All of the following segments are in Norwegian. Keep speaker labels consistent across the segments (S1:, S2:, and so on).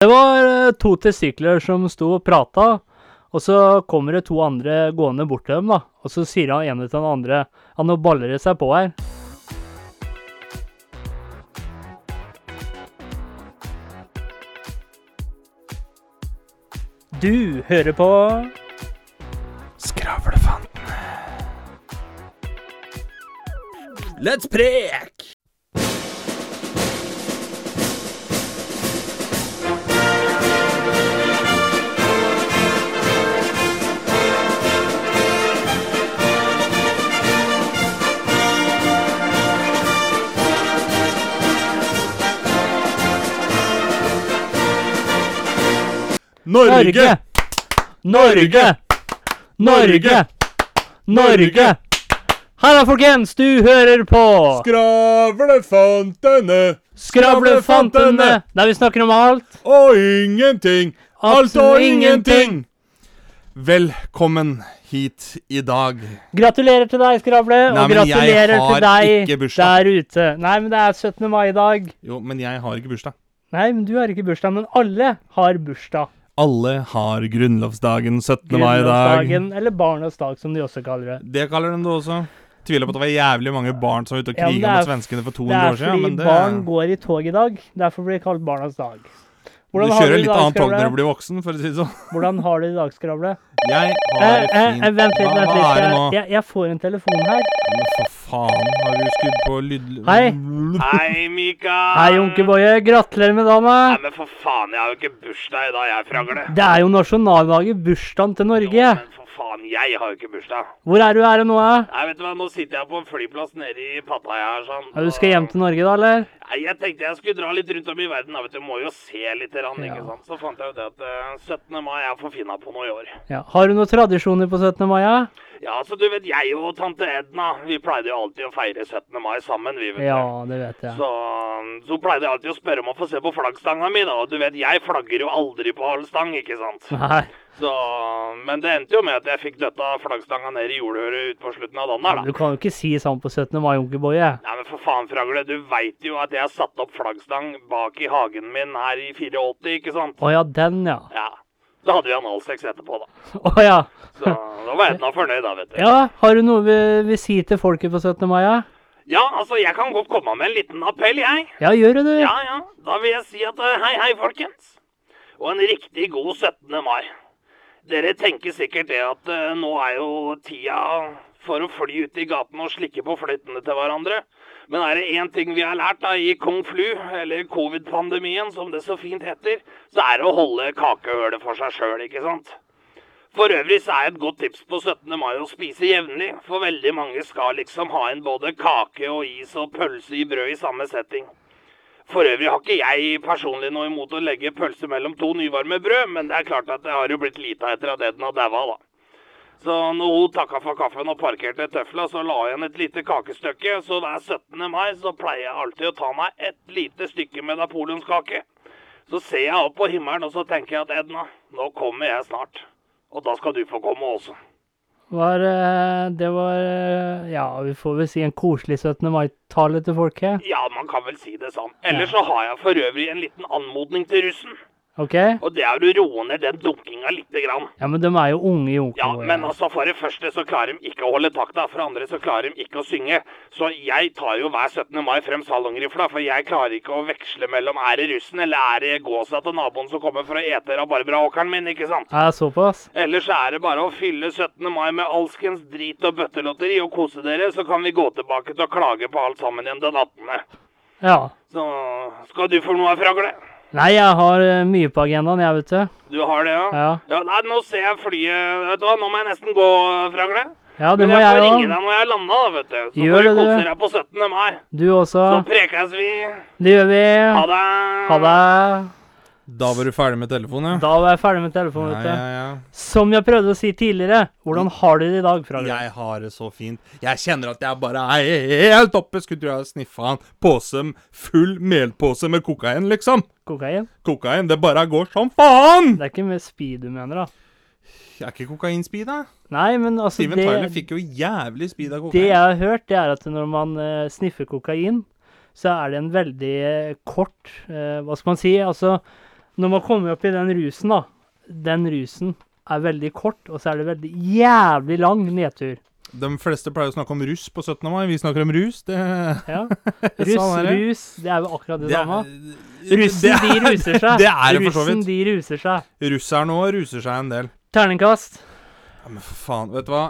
S1: Det var eh, to testikler som sto og prata, og så kommer det to andre gående bort til dem, da. Og så sier han ene til den andre Ja, nå baller det seg på her. Du hører på
S2: Skravlefantene. Let's prek!
S1: Norge! Norge! Norge! Norge! Halla, folkens! Du hører på
S2: Skravlefantene
S1: Skravlefantene! Der vi snakker om alt.
S2: og ingenting. Alt og
S1: Absolutt
S2: ingenting. Velkommen hit i dag.
S1: Gratulerer til deg, Skravle,
S2: Nei,
S1: og
S2: men jeg
S1: gratulerer
S2: har
S1: til deg
S2: ikke bursdag.
S1: der ute. Nei, men det er 17. mai i dag.
S2: Jo, men jeg har ikke bursdag.
S1: Nei, men du har ikke bursdag, men alle har bursdag.
S2: Alle har grunnlovsdagen 17. mai i dag.
S1: Grunnlovsdagen, eller barnas dag, som de også kaller det.
S2: Det kaller de det også. Tviler på at det var jævlig mange barn som var ute og
S1: Ja, men
S2: kriga
S1: det er-
S2: mot svenskene for
S1: Det
S2: 200
S1: er
S2: år siden.
S1: fordi
S2: Men det,
S1: barn går i tog i dag. Derfor blir det kalt barnas dag.
S2: du
S1: har
S2: kjører
S1: det i
S2: litt
S1: dag,
S2: annet tog
S1: Skravle?
S2: når du blir voksen, for å si det sånn.
S1: Hvordan har du det i dag, Skravle?
S2: Jeg
S1: Eh,
S2: har det
S1: eh,
S2: fint.
S1: eh, vent litt,
S2: Hva-
S1: vent
S2: Hva
S1: litt.
S2: er det
S1: Jeg,
S2: nå?
S1: jeg, jeg får en telefon her.
S2: Men for faen, har du skudd på lyd...
S1: Hei.
S3: Hei, Mikael.
S1: Hei, onkeboye. Gratulerer med
S3: Nei,
S1: dagen. eh.
S3: men for faen, jeg har jo ikke bursdag i dag, jeg, Fragle.
S1: Det er jo nasjonaldagen, bursdagen til Norge.
S3: Jo, men for faen, jeg har jo ikke bursdag.
S1: Hvor er du her nå, eh?
S3: Nei, vet du hva, nå sitter jeg på en flyplass nede i Pattaya her, sånn.
S1: Ja, du skal hjem til Norge, da, eller?
S3: Nei, jeg tenkte jeg skulle dra litt rundt om i verden, da, vet du. Må jo se litt, rann,
S1: Ja.
S3: ikke sant. Så fant jeg ut det at eh, 17. mai er for finna på noe i år.
S1: Ja. Har du noen tradisjoner på 17. mai? Ja?
S3: Ja, så du vet, jeg og tante Edna, vi pleide jo alltid å feire 17. mai sammen, vi, vet du.
S1: ja, det vet jeg.
S3: Så, så pleide jeg alltid å spørre om å få se på flaggstanga mi, da. Og du vet, jeg flagger jo aldri på halv stang, ikke sant.
S1: Nei,
S3: Så, men det endte jo med at jeg fikk døtta flaggstanga ned i jordhøret utpå slutten av dagen her,
S1: du
S3: da.
S1: kan jo ikke si sånn på 17. mai, onkeboye.
S3: Nei, men for faen, Fragle, du veit jo at jeg satte opp flaggstang bak i hagen min her i 84, ikke sant?
S1: Å ja, den, ja.
S3: Ja. Da hadde vi analsex etterpå, da.
S1: Å ja.
S3: Så da var Edna fornøyd, da, vet du.
S1: Ja, har du noe vi vil si til folket på 17. mai? Ja,
S3: Ja, altså, jeg kan godt komme med en liten appell, jeg.
S1: ja gjør du det?
S3: Ja, ja. Da vil jeg si at eh, hei, hei, folkens. Og en riktig god 17. mai. Dere tenker sikkert det at eh, nå er jo tida for å fly ut i gaten og slikke på fløytene til hverandre. Men er det én ting vi har lært da i kong flu, eller covid-pandemien som det så fint heter, så er det å holde kakehølet for seg sjøl, ikke sant? For øvrig så er et godt tips på 17. mai å spise jevnlig, for veldig mange skal liksom ha en både kake og is og pølse i brød i samme setting. For øvrig har ikke jeg personlig noe imot å legge pølse mellom to nyvarme brød, men det er klart at det har jo blitt lite etter at Edna daua, da. Så når hun takka for kaffen og parkerte tøfla, så la jeg igjen et lite kakestykke. Så hver 17. mai så pleier jeg alltid å ta meg et lite stykke med napoleonskake. Så ser jeg opp på himmelen, og så tenker jeg at Edna, nå kommer jeg snart. Og da skal du få komme også.
S1: Var, eh, det var eh, Ja, vi får vel si en koselig 17. mai-tale til folket.
S3: Ja, man kan vel si det sånn. Ellers så har jeg for øvrig en liten anmodning til russen.
S1: OK? Ja,
S3: Og det er å roe ned den dunkinga lite grann.
S1: men de er jo unge i
S3: Ja,
S1: onkeboye.
S3: men altså for det første så klarer de ikke å holde takta, for det andre så klarer de ikke å synge. Så jeg tar jo hver 17. mai frem salongrifla, for jeg klarer ikke å veksle mellom er det russen eller er det gåsa til naboen som kommer for å ete rabarbraåkeren min, ikke sant?
S1: Er det såpass?
S3: Ellers er det bare å fylle 17. mai med alskens drit og bøttelotteri og kose dere, så kan vi gå tilbake til å klage på alt sammen igjen den 18.
S1: Ja.
S3: Så skal du få noe av fragle?
S1: Nei, jeg har eh, mye på agendaen, jeg, vet du.
S3: Du har det, ja?
S1: Ja,
S3: Ja, nei, nå ser jeg flyet Vet du hva, nå må jeg nesten gå, fragle.
S1: ja det
S3: Men
S1: må
S3: jeg
S1: jeg
S3: får ringe
S1: òg.
S3: deg når jeg landa, da, vet du. Så
S1: Gjør
S3: får
S1: det,
S3: du
S1: du.
S3: kose deg på 17. mai.
S1: Du også.
S3: Så prekes vi.
S1: Det gjør vi.
S3: Ha det.
S1: Ha det.
S2: Da var du ferdig med telefonen, ja?
S1: Da var jeg ferdig med telefonen.
S2: Ja,
S1: vet du.
S2: ja, ja.
S1: Som jeg prøvde å si tidligere, hvordan har du det i dag, Fragle?
S2: Jeg har det så fint. Jeg kjenner at jeg bare er helt oppe. Skulle tro jeg sniffa en pose, full melpose med kokain, liksom.
S1: Kokain?
S2: Kokain, det bare går som faen!
S1: Det er ikke mer speed du mener, da.
S2: Er ikke kokain speed, da?
S1: Nei, men altså
S2: Steven Tyler
S1: det,
S2: fikk jo jævlig speed av
S1: det
S2: kokain.
S1: jeg har hørt, det er at når man eh, sniffer kokain, så er det en veldig eh, kort eh, Hva skal man si? Altså Når man kommer opp i den rusen, da Den rusen er veldig kort, og så er det veldig jævlig lang nedtur.
S3: De fleste pleier å snakke om russ på 17. mai. Vi snakker om rus. Det,
S1: Ja.
S3: Sånn
S1: Russ,
S3: er det.
S1: rus, det er jo akkurat det,
S3: det
S1: samme.
S3: det-
S1: Russen, de ruser seg.
S3: Det er det for så
S1: Russen,
S3: vidt.
S1: de ruser seg.
S3: Russerne òg ruser seg en del.
S1: Terningkast.
S3: Ja, men for faen, vet du hva?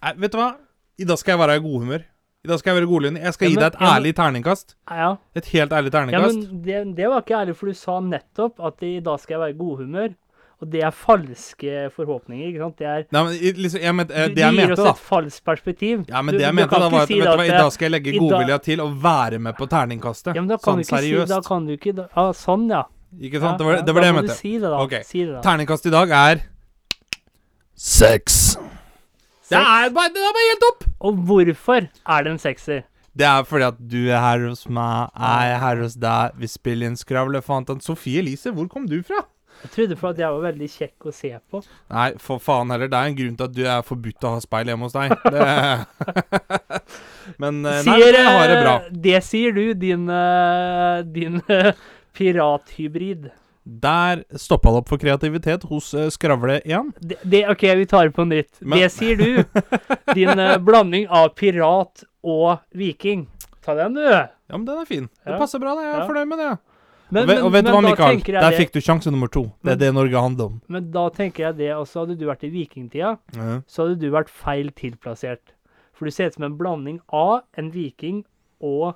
S3: Nei, vet du hva? I dag skal jeg være i godhumør. I dag skal jeg være godlynt. Jeg skal
S1: Ja,
S3: gi
S1: men-
S3: deg et
S1: ja, men-
S3: ærlig terningkast.
S1: Ja,
S3: Et helt ærlig
S1: ja
S3: terningkast.
S1: men det, det var ikke ærlig, for du sa nettopp at i dag skal jeg være i godhumør. Og det er falske forhåpninger, ikke sant? Det er
S3: Nei, men i- liksom, jeg mente, eh,
S1: du,
S3: det jeg
S1: du gir
S3: mente,
S1: oss
S3: da
S1: et falskt perspektiv.
S3: Ja, men
S1: Du-
S3: det jeg
S1: du
S3: mente
S1: kan
S3: da
S1: ikke
S3: var at
S1: si
S3: vet
S1: da
S3: du hva, i
S1: at
S3: dag skal jeg legge
S1: i dag-
S3: godvilja til og være med på terningkastet.
S1: Ja, men da kan
S3: sånn
S1: du ikke si,
S3: seriøst.
S1: da kan du ikke da, ah, Sånn, ja.
S3: Ikke sant? Det
S1: Ja,
S3: var
S1: ja,
S3: det, var det jeg
S1: da må
S3: mente.
S1: Du si det, da.
S3: Ok.
S1: Si det, da.
S3: Terningkast i dag er Seks. Det er bare, det er bare helt opp!
S1: Og hvorfor er det en sekser?
S3: Det er fordi at du er her hos meg, jeg er her hos deg, vi spiller en skravlefantan. Sofie Elise, hvor kom du fra?
S1: Jeg trodde for at jeg var veldig kjekk å se på.
S3: Nei, for faen heller. Det er en grunn til at du er forbudt å ha speil hjemme hos deg. Det... Men eh, nei,
S1: Sier,
S3: jeg har det bra.
S1: eh, Det sier du, din, eh, din eh, pirathybrid.
S3: Der stoppa det opp for kreativitet hos eh, Skravle1.
S1: Det, det, OK, vi tar det på nytt.
S3: Men-
S1: Det sier du. Din eh, blanding av pirat og viking. Ta den, du.
S3: Ja, men den er fin.
S1: Ja.
S3: Det passer bra, det. Jeg er
S1: Ja.
S3: fornøyd med det.
S1: Men,
S3: og, ve- og vet du hva,
S1: da
S3: Mikael?
S1: tenker jeg
S3: Der
S1: det-
S3: fikk du sjanse nummer to. Det
S1: Men-
S3: er det Norge handler om.
S1: Men da tenker jeg det, og så hadde du vært i vikingtida,
S3: Ja.
S1: så hadde du vært feil tilplassert. For du ser ut som en blanding av en viking og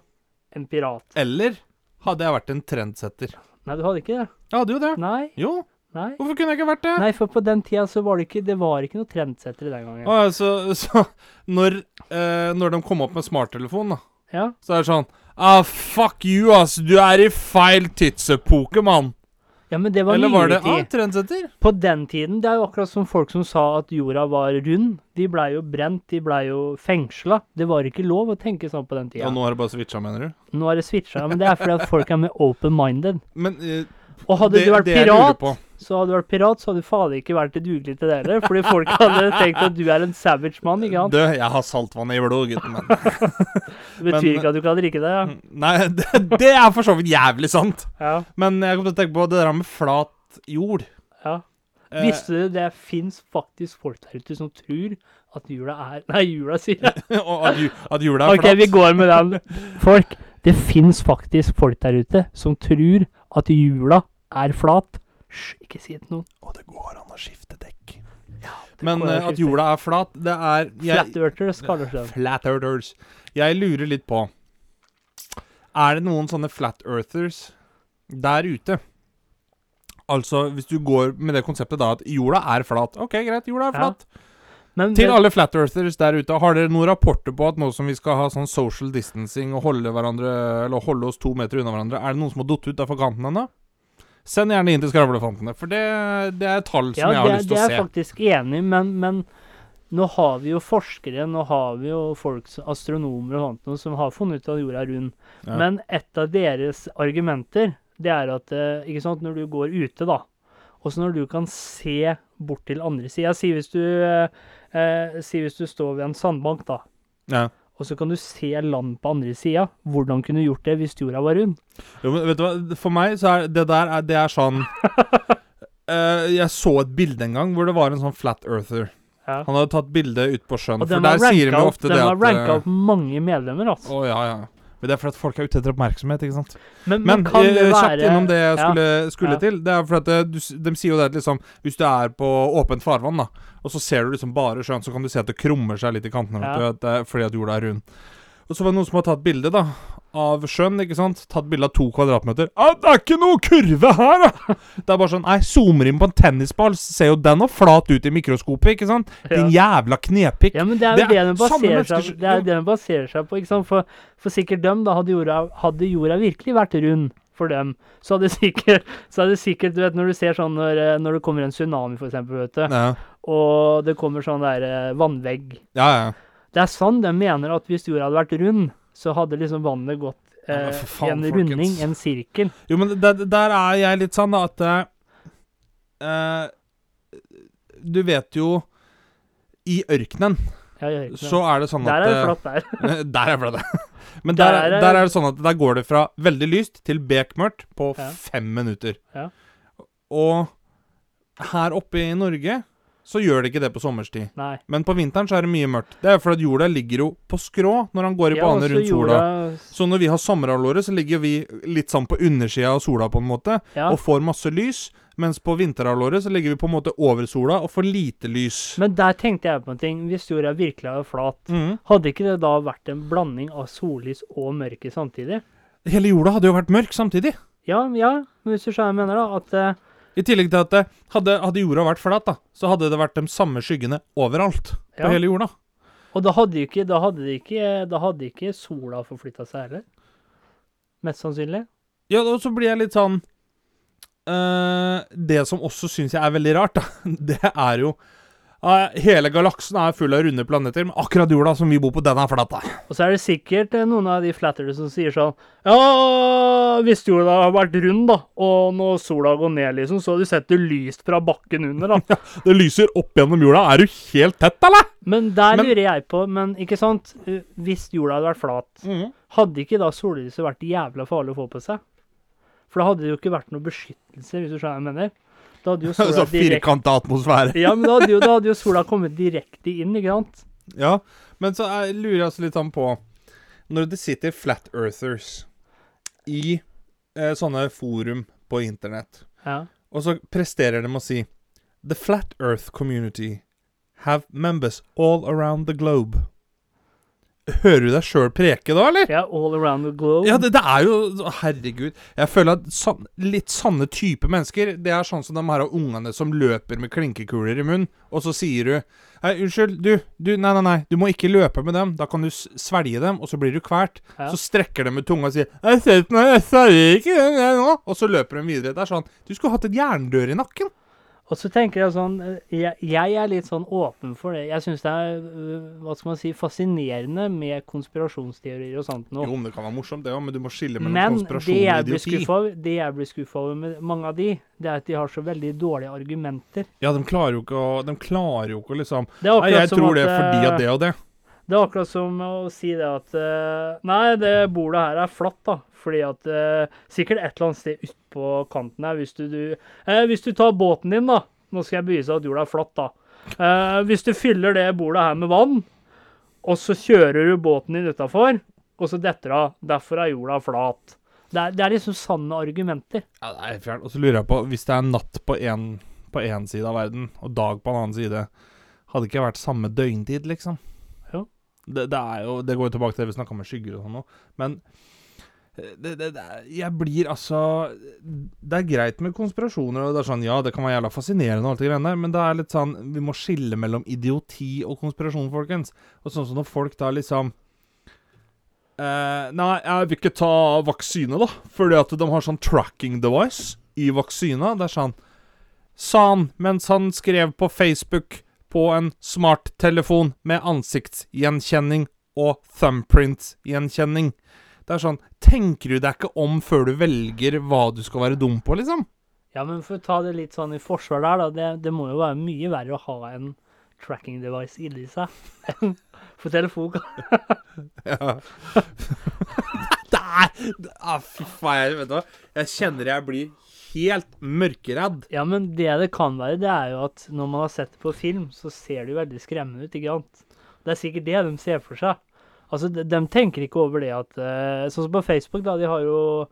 S1: en pirat.
S3: Eller hadde jeg vært en trendsetter?
S1: Nei, du hadde ikke det.
S3: Jeg hadde jo det.
S1: Nei,
S3: Jo,
S1: nei.
S3: hvorfor kunne jeg ikke vært det?
S1: Nei, for på den tida så var det ikke Det var ikke noe trendsettere den gangen.
S3: Å, ja, så, så når, eh, når de kom opp med smarttelefonen, da,
S1: Ja.
S3: så er det sånn Ah, fuck you, ass! Du er i feil tidsepoke, mann!
S1: ja, men det var
S3: Eller var det
S1: nyere
S3: ah,
S1: tid.
S3: trendsetter?
S1: På den tiden Det er jo akkurat som folk som sa at jorda var rund. De blei jo brent, de blei jo fengsla. Det var ikke lov å tenke sånn på den tida.
S3: Ja, nå har det bare switcha, mener du?
S1: Nå er det switcha, men det er fordi at folk er mer open-minded.
S3: Men eh,
S1: Og hadde
S3: det,
S1: du vært
S3: det jeg lurer
S1: pirat
S3: på
S1: så hadde du vært pirat, så hadde du fader ikke vært dugelig til det heller. Fordi folk hadde tenkt at du er en savage mann, ikke sant?
S3: Du, jeg har saltvann i blodet, gutten min.
S1: Det betyr
S3: men- Mm.
S1: ikke at du kan drikke det, ja.
S3: Nei, det, det er for så vidt jævlig sant.
S1: ja,
S3: Men jeg kom til å tenke på det der med flat jord.
S1: ja.
S3: Eh,
S1: Visste du det fins faktisk folk der ute som tror at jula er Nei, jula, sier jeg.
S3: og at, ju, at jorda er
S1: OK, vi
S3: flat.
S1: går med den. Folk, det fins faktisk folk der ute som tror at jula er flat. Hysj, ikke si det til noen.
S3: Og det går an å skifte dekk.
S1: Det
S3: Men
S1: går
S3: eh,
S1: ikke
S3: at
S1: ut.
S3: jorda er flat, det er jeg,
S1: Flat-earters kaller det seg.
S3: Flat earthers. Jeg lurer litt på Er det noen sånne flat earthers der ute? Altså, hvis du går med det konseptet da at jorda er flat OK, greit, jorda er
S1: Ja.
S3: flat.
S1: Men
S3: Til
S1: vet-
S3: alle flat earthers der ute, har dere noen rapporter på at nå som vi skal ha sånn social distancing og holde, hverandre, eller holde oss to meter unna hverandre, er det noen som har datt ut av kanten ennå? Send gjerne inn til Skravlefantene, for det, det er tall som jeg har
S1: det, det
S3: lyst til å
S1: er
S3: se.
S1: jeg faktisk enig i, men, men nå har vi jo forskere, nå har vi jo folk, som- astronomer og sånt, noe, som har funnet ut at jorda er rund.
S3: Ja.
S1: Men et av deres argumenter, det er at eh, ikke sant, når du går ute, da, og så når du kan se bort til andre sida Si hvis du eh, eh, Si hvis du står ved en sandbank, da,
S3: Ja.
S1: og så kan du se land på andre sida. Hvordan kunne du gjort det hvis jorda var rund?
S3: Jo, men vet du hva, for meg så er det der er, Det er sånn Eh, Jeg så et bilde en gang hvor det var en sånn flat earther.
S1: Ja.
S3: Han hadde tatt bilde ute på sjøen.
S1: Og
S3: For
S1: den har
S3: der sier de
S1: ranka
S3: jo
S1: opp,
S3: ofte
S1: den
S3: det
S1: har
S3: at eh,
S1: ranka opp mange medlemmer, altså.
S3: Å, ja, ja. Men det er fordi at folk er ute etter oppmerksomhet, ikke sant.
S1: Men, men,
S3: Men
S1: kan det
S3: eh,
S1: være
S3: kjapt innom det jeg
S1: ja.
S3: skulle, skulle
S1: ja.
S3: til. Det er fordi at eh, du, s- De sier jo det at liksom Hvis du er på åpent farvann, da, og så ser du liksom bare sjøen, så kan du se at det krummer seg litt i kantene vet
S1: Ja.
S3: du, at det er fordi at jorda er rund. Og så var det noen som har tatt bilde da av sjøen. ikke sant? Tatt bilde av to kvadratmeter. Ah, det er ikke noe kurve her, da! Det er bare sånn Nei, zoomer inn på en tennisball, så ser jo den òg flat ut i mikroskopet, ikke sant? Din jævla knepikk.
S1: Ja, men det er jo
S3: Det
S1: det,
S3: er
S1: den
S3: samme
S1: baserer seg,
S3: menneskers-
S1: det er jo det den baserer seg på. ikke sant? For, for sikkert dem, da, hadde jorda, hadde jorda virkelig vært rund for dem, så hadde sikkert, så hadde sikkert du vet, Når du ser sånn når, eh, når det kommer en tsunami, for eksempel, vet du,
S3: Ja,
S1: og det kommer sånn der eh, vannvegg
S3: ja. ja.
S1: Det er sånn de mener at hvis jorda hadde vært rund, så hadde liksom vannet gått
S3: Ja, men
S1: eh,
S3: for faen,
S1: en
S3: folkens.
S1: runding, en sirkel.
S3: Jo, men der, der er jeg litt sånn da at eh, eh, Du vet jo I ørkenen
S1: Ja, jeg hører ikke
S3: så er det sånn
S1: det. Der
S3: at
S1: er det
S3: eh,
S1: flatt der.
S3: der er det flatt. Men
S1: Der
S3: der, er-
S1: er det-
S3: der er det sånn at der går det fra veldig lyst til bekmørkt på
S1: Ja.
S3: fem minutter.
S1: Ja.
S3: Og her oppe i Norge så gjør det ikke det på sommerstid.
S1: Nei.
S3: Men på vinteren så er det mye mørkt. Det er fordi at jorda ligger jo på skrå når han går i bane
S1: altså
S3: rundt sola. Så når vi har sommerhalvåret, så ligger vi litt sånn på undersida av sola, på en måte,
S1: Ja.
S3: og får masse lys. Mens på vinterhalvåret så ligger vi på en måte over sola og får lite lys.
S1: Men der tenkte jeg på en ting. Hvis jorda virkelig er flat,
S3: Mhm.
S1: hadde ikke det da vært en blanding av sollys og mørke samtidig?
S3: Hele jorda hadde jo vært mørk samtidig.
S1: Ja, ja, men hvis du skjønner hva jeg mener, da. At eh,
S3: I tillegg til at det, hadde, hadde jorda vært flat, da, så hadde det vært de samme skyggene overalt på
S1: Ja.
S3: hele jorda.
S1: Og da hadde jo ikke, da hadde det ikke, da hadde ikke sola forflytta seg heller. Mest sannsynlig.
S3: Ja, og så blir jeg litt sånn eh, Det som også syns jeg er veldig rart, da, det er jo eh, Hele galaksen er full av runde planeter, men akkurat jorda som vi bor på, den er flat. da.
S1: Og så er det sikkert eh, noen av de flattere som sier sånn Ja, hvis jorda har vært rund, da, og når sola går ned, liksom, så har du sett det lyst fra bakken under, da.
S3: Det lyser opp gjennom jorda. Er du helt tett, eller?
S1: Men der
S3: Men-
S1: lurer jeg på, men ikke sant eh, Hvis jorda hadde vært flat, hadde ikke da sollyset vært jævla farlig å få på seg? For da hadde det jo ikke vært noe beskyttelse, hvis du skjønner hva jeg mener. Da hadde jo sola
S3: Så
S1: direkte
S3: firkanta atmosfære.
S1: Ja, men da hadde jo, da hadde jo sola kommet direkte inn, ikke sant?
S3: Ja, men så er, lurer jeg også litt sånn på Når det sitter flat earthers i eh, sånne forum på internett
S1: Ja.
S3: Og så presterer de å si The Flat Earth Community have members all around the globe. Hører du deg sjøl preke da, eller?
S1: Ja, all around the globe.
S3: Ja, det, det er jo Herregud. Jeg føler at sann- litt sanne type mennesker Det er sånn som de her av ungene som løper med klinkekuler i munnen, og så sier du Hei, unnskyld, du, du Nei, nei, nei. Du må ikke løpe med dem. Da kan du s- svelge dem, og så blir du kvalt.
S1: Ja.
S3: Så strekker de ut tunga og sier Jeg ser på meg, jeg svelger ikke den jeg nå. Og så løper de videre. Det er sånn Du skulle hatt et jerndør i nakken.
S1: Og så tenker jeg sånn eh, Jeg, jeg er litt sånn åpen for det. Jeg syns det er øh, hva skal man si, fascinerende med konspirasjonsteorier og sånt
S3: Jo,
S1: noe.
S3: men det kan være morsomt, det òg, men du må skille mellom
S1: Men det
S3: konspirasjon og
S1: jeg, blir
S3: idioti.
S1: skuffet over, det jeg blir skuffa over med mange av de, det er at de har så veldig dårlige argumenter.
S3: Ja, de klarer jo ikke å De klarer jo ikke å liksom
S1: Det er
S3: Nei, jeg
S1: akkurat, som
S3: tror
S1: at,
S3: det er fordi at
S1: eh,
S3: det og det.
S1: det er akkurat som å si det at eh, Nei, det bordet her er flatt, da. Fordi at eh, Sikkert et eller annet sted utpå kanten her, hvis du, du eh, Hvis du tar båten din, da. Nå skal jeg bevise at jorda er flatt, da. Eh, hvis du fyller det bordet her med vann, og så kjører du båten din utafor, og så detter det av. Derfor er jorda flat. Det er, det er liksom sanne argumenter.
S3: Ja, det er fjernt. Og så lurer jeg på Hvis det er natt på en, på en side av verden og dag på en annen side, hadde ikke vært samme døgntid, liksom?
S1: Jo.
S3: Det, det er jo Det går jo tilbake til det vi snakka med skygger og sånn nå, men eh, det, det, det er, jeg blir altså Det er greit med konspirasjoner, og det er sånn Ja, det kan være jævla fascinerende og alt det greiene der, men det er litt sånn Vi må skille mellom idioti og konspirasjon, folkens. Og sånn som når folk da liksom Eh, nei, jeg vil ikke ta vaksine, da. Fordi at de har sånn tracking device i vaksina. Det er sånn Sa han mens han skrev på Facebook på en smarttelefon med ansiktsgjenkjenning og thumbprint-gjenkjenning. Det er sånn Tenker du deg ikke om før du velger hva du skal være dum på, liksom?
S1: Ja, men for å ta det litt sånn i forsvar der, da. Det, det må jo være mye verre å ha en tracking device inni seg. For telefon kan
S3: Ja. det er det er- Fy faen, jeg- vet du hva. Jeg kjenner jeg blir helt mørkeredd.
S1: Ja, men det det kan være, det er jo at når man har sett det på film, så ser det jo veldig skremmende ut, ikke sant? Det er sikkert det de ser for seg. Altså, de, de tenker ikke over det at eh, Sånn som på Facebook, da. De har jo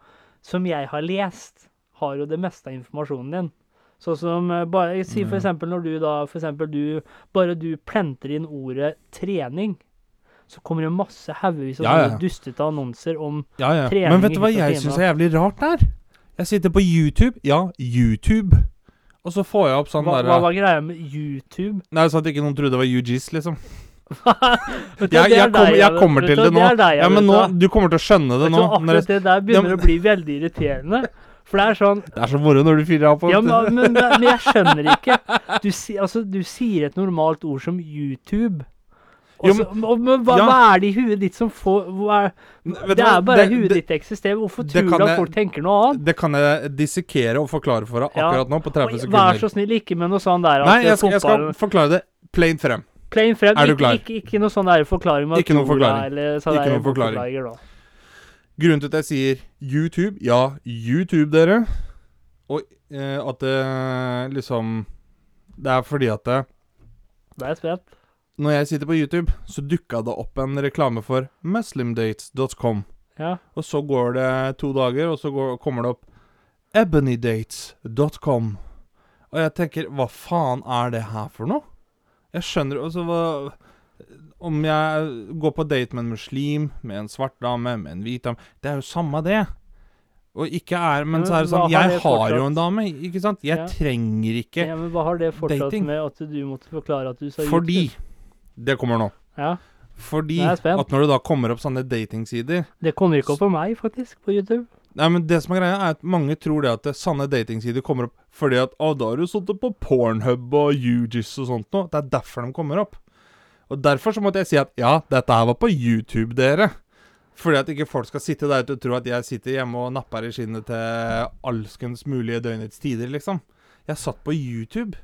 S1: Som jeg har lest, har jo det meste av informasjonen din. Sånn som eh, bare Si
S3: Mm.
S1: for eksempel når du da For eksempel du Bare du plenter inn ordet 'trening', så kommer det masse haugevis av
S3: Ja, ja,
S1: sånne
S3: ja.
S1: dustete annonser om
S3: Ja, ja.
S1: Trening
S3: Men vet du hva
S1: i hytt og
S3: jeg
S1: pine.
S3: syns er jævlig rart der? Jeg sitter på YouTube. Ja, YouTube. Og så får jeg opp sånn
S1: Hva,
S3: der
S1: hva var greia med YouTube?
S3: Nei, sånn at ikke noen trodde det var UGs, liksom.
S1: Vet du,
S3: Jeg,
S1: det er deg,
S3: jeg, kommer-
S1: vet
S3: jeg
S1: du.
S3: kommer
S1: Vet
S3: til
S1: du,
S3: det nå.
S1: er deg,
S3: Ja, men
S1: vet
S3: nå,
S1: du.
S3: Du kommer til å skjønne det
S1: Vet du,
S3: nå. når
S1: akkurat
S3: jeg-
S1: det der begynner
S3: Ja, men-
S1: å bli veldig irriterende. For det er sånn
S3: Det er så moro når du fyrer av på
S1: Ja, men, men, men jeg skjønner ikke. Du, si, altså, du sier et normalt ord som YouTube. Og
S3: Jo,
S1: så- og- men hva,
S3: ja.
S1: hva er det i huet ditt som får hva er,
S3: Vet du
S1: Det er
S3: hva?
S1: bare
S3: Det-
S1: huet
S3: det-
S1: ditt eksisterer. Hvorfor
S3: det
S1: tror
S3: kan
S1: du at
S3: jeg-
S1: folk tenker noe annet?
S3: Det kan jeg dissekere og forklare for deg
S1: Ja.
S3: akkurat nå, på 30
S1: Og Vær så
S3: sekunder.
S1: snill, ikke med noe sånn der at
S3: Nei, jeg skal, jeg skal
S1: fotballen-
S3: forklare det plain frem.
S1: Plain frem.
S3: Er du klar?
S1: Ikke, ikke, ikke noe sånn der forklaring med at
S3: Ikke noe
S1: jorda
S3: forklaring.
S1: Eller, sånn der
S3: Ikke noe forklaring.
S1: bortforklaringer, da.
S3: Grunnen til at jeg sier YouTube Ja, YouTube, dere. Og eh, at det liksom Det er fordi at det,
S1: Da er jeg spent.
S3: når jeg sitter på YouTube, så dukka det opp en reklame for muslimdates.com.
S1: Ja.
S3: Og så går det to dager, og så går, kommer det opp ebonydates.com. Og jeg tenker, hva faen er det her for noe? Jeg skjønner altså hva Om jeg går på date med en muslim, med en svart dame, med en hvit dame Det er jo samme det. Og ikke er Men
S1: Ja,
S3: så er det
S1: men hva har
S3: sånn Jeg
S1: det
S3: har jo
S1: fortsatt?
S3: en dame, ikke sant? Jeg
S1: Ja.
S3: trenger ikke
S1: ja, men hva har det fortsatt
S3: Dating.
S1: med at du måtte forklare at du sa
S3: Fordi
S1: YouTube?
S3: Det kommer nå.
S1: Ja.
S3: Fordi
S1: Nå er jeg spent.
S3: at når det da kommer opp sånne datingsider
S1: Det kommer ikke opp for meg, faktisk, på YouTube.
S3: Nei, men det som er greia er at Mange tror det at det sanne datingsider kommer opp fordi at å, da har du sittet på Pornhub og UGIS og sånt noe. Det er derfor de kommer opp. Og derfor så måtte jeg si at ja, dette her var på YouTube, dere. Fordi at ikke folk skal sitte der ute og tro at jeg sitter hjemme og napper i skinnet til alskens mulige døgnets tider, liksom. Jeg satt på YouTube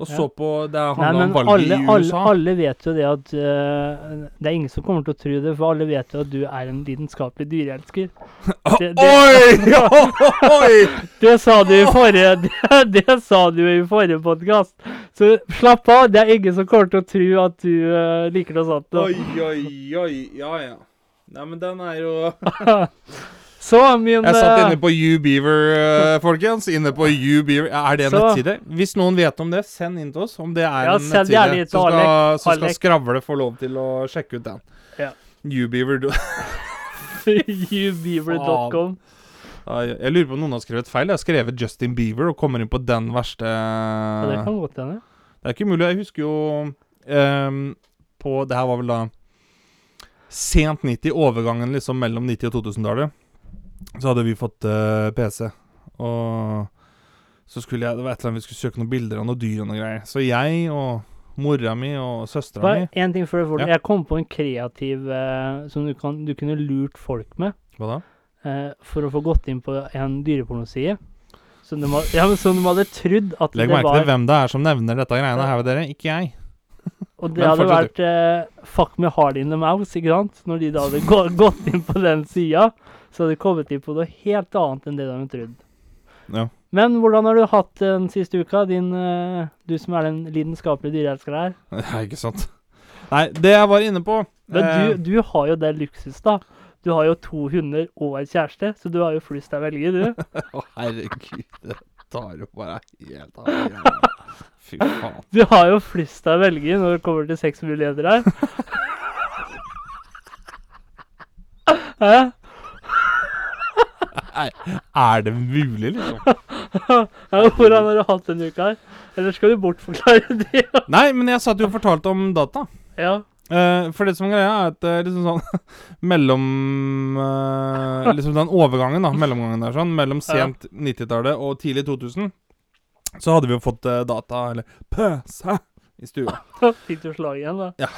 S3: og
S1: Ja.
S3: så på Det
S1: Nei,
S3: handla
S1: men
S3: om sånn. valget
S1: alle,
S3: i
S1: alle,
S3: USA.
S1: alle vet jo det at eh, Det er ingen som kommer til å tro det, for alle vet jo at du er en lidenskapelig dyreelsker. det-
S3: Oi! Oi!
S1: Det sa du i forrige Det, det sa du i forrige podkast. Så slapp av, det er ingen som kommer til å tro at du eh, liker noe sånt. nå.
S3: Oi, oi, oi. Ja, ja. Nei, men den er jo
S1: Så min
S3: Jeg satt
S1: eh,
S3: inne på YouBeaver, eh, folkens. Inne på YouBeaver. Er det en
S1: Så-
S3: nettside? Hvis noen vet om det, send inn til oss om det er
S1: Ja,
S3: en
S1: send
S3: nettside.
S1: gjerne inn til
S3: så, skal,
S1: Alek.
S3: så skal
S1: Alek.
S3: Skravle få lov til å sjekke ut den.
S1: Ja.
S3: YouBeaver du-
S1: eh, youbeaver.com.
S3: Ai, Jeg lurer på om noen har skrevet feil. Jeg har skrevet Justin Bieber og kommer inn på den verste
S1: Ja, det kan godt hende.
S3: Det er ikke mulig. Jeg husker jo ehm, på Det her var vel da sent 90, overgangen liksom mellom 90- og 2000-tallet. Så hadde vi fått eh, PC, og så skulle jeg Det var et eller annet vi skulle søke noen bilder av noen dyr og noe greier. Så jeg og mora mi og søstera
S1: Bare
S3: mi
S1: en ting før du får det.
S3: Ja.
S1: Jeg kom på en kreativ eh, som du, kan, du kunne lurt folk med
S3: Hva da?
S1: eh, for å få gått inn på en dyrepornoside. Som de, had- ja, men som de hadde trodd at
S3: Legg
S1: det
S3: merke
S1: var
S3: til hvem det er som nevner dette greiene her, dere. Ikke jeg.
S1: Og det
S3: Men
S1: hadde
S3: fortsett
S1: vært eh, fuck med hard in the mouse, ikke sant? Når de da hadde gå, gått inn på den sida, så hadde de kommet inn på noe helt annet enn det de hadde trodd.
S3: Ja.
S1: Men hvordan har du hatt det den siste uka, din, eh, du som er den lidenskapelige dyreelskeren her?
S3: Ja, ikke sant? Nei, det jeg var inne på eh,
S1: Men du, du har jo det luksus, da. Du har jo to hunder og en kjæreste, så du har jo flust deg velge, du.
S3: Å, herregud. Det tar jo bare helt av. jævla. Fy faen.
S1: Du har jo flust deg velge når det kommer til sexmuligheter her. Hæ?
S3: Er det mulig, liksom?
S1: Ja, Hvordan har du hatt denne uka her? Eller skal du bortforklare det?
S3: Nei, men jeg satt jo og fortalte om data.
S1: Ja.
S3: Eh, for det som er greia, er at eh, liksom sånn Mellom eh, Liksom den overgangen, da. Mellomgangen der, sånn. Mellom sent 90-tallet og tidlig 2000. Så hadde vi jo fått eh, data, eller pøsa, i stua.
S1: Fikk du slag igjen, da?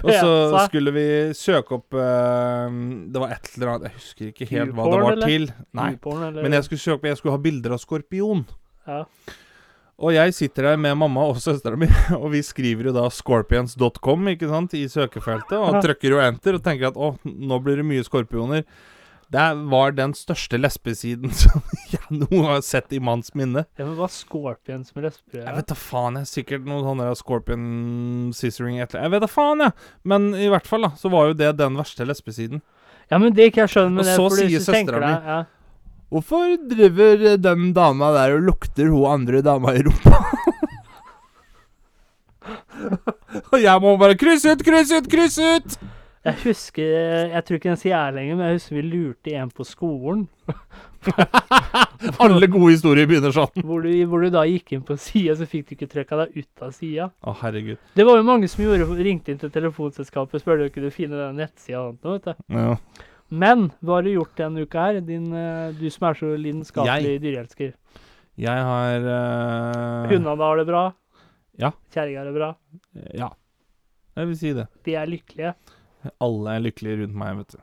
S3: Og så
S1: Pesa.
S3: skulle vi søke opp eh, Det var et eller annet Jeg husker ikke helt hva det
S1: Porn,
S3: var
S1: eller?
S3: til. Nei.
S1: Uporn, eller?
S3: Men jeg skulle søke Jeg skulle ha bilder av skorpion.
S1: ja.
S3: Og jeg sitter der med mamma og søstera mi, og vi skriver jo da scorpions.com ikke sant, i søkefeltet, og
S1: Ja.
S3: trykker jo enter og tenker at å, nå blir det mye skorpioner. Det var den største lesbesiden som jeg noen gang har sett i manns minne.
S1: ja, men hva scorpion som lesber
S3: Jeg
S1: er?
S3: vet da faen, jeg. Sikkert noen sånne der scorpion scissoring et eller Jeg vet da faen, jeg. Men i hvert fall, da, så var jo det den verste lesbesiden.
S1: Ja, men det ikke jeg skjønner med
S3: Og
S1: det.
S3: så
S1: for hvis
S3: sier
S1: du tenker
S3: søsteren
S1: deg- Ja.
S3: Hvorfor driver den dama der og lukter hun andre dama i rumpa? Og jeg må bare krysse ut, krysse ut, krysse ut!
S1: Jeg husker Jeg tror ikke den sier jeg lenger, men jeg husker vi lurte en på skolen.
S3: Alle gode historier begynner sånn.
S1: Hvor du, hvor du da gikk inn på sida, så fikk du ikke trykka deg ut av sida.
S3: Å, herregud.
S1: Det var jo mange som gjorde, ringte inn til telefonselskapet og spurte om du kunne finne den nettsida. og sånt noe, vet du.
S3: Ja.
S1: Men hva har du gjort denne uka her, din, eh, du som er så lidenskapelig dyreelsker?
S3: Jeg har eh,
S1: Hundene har det bra?
S3: Ja.
S1: Kjerringa har det bra?
S3: Ja. Jeg vil si det.
S1: De er lykkelige?
S3: Alle er lykkelige rundt meg, vet du.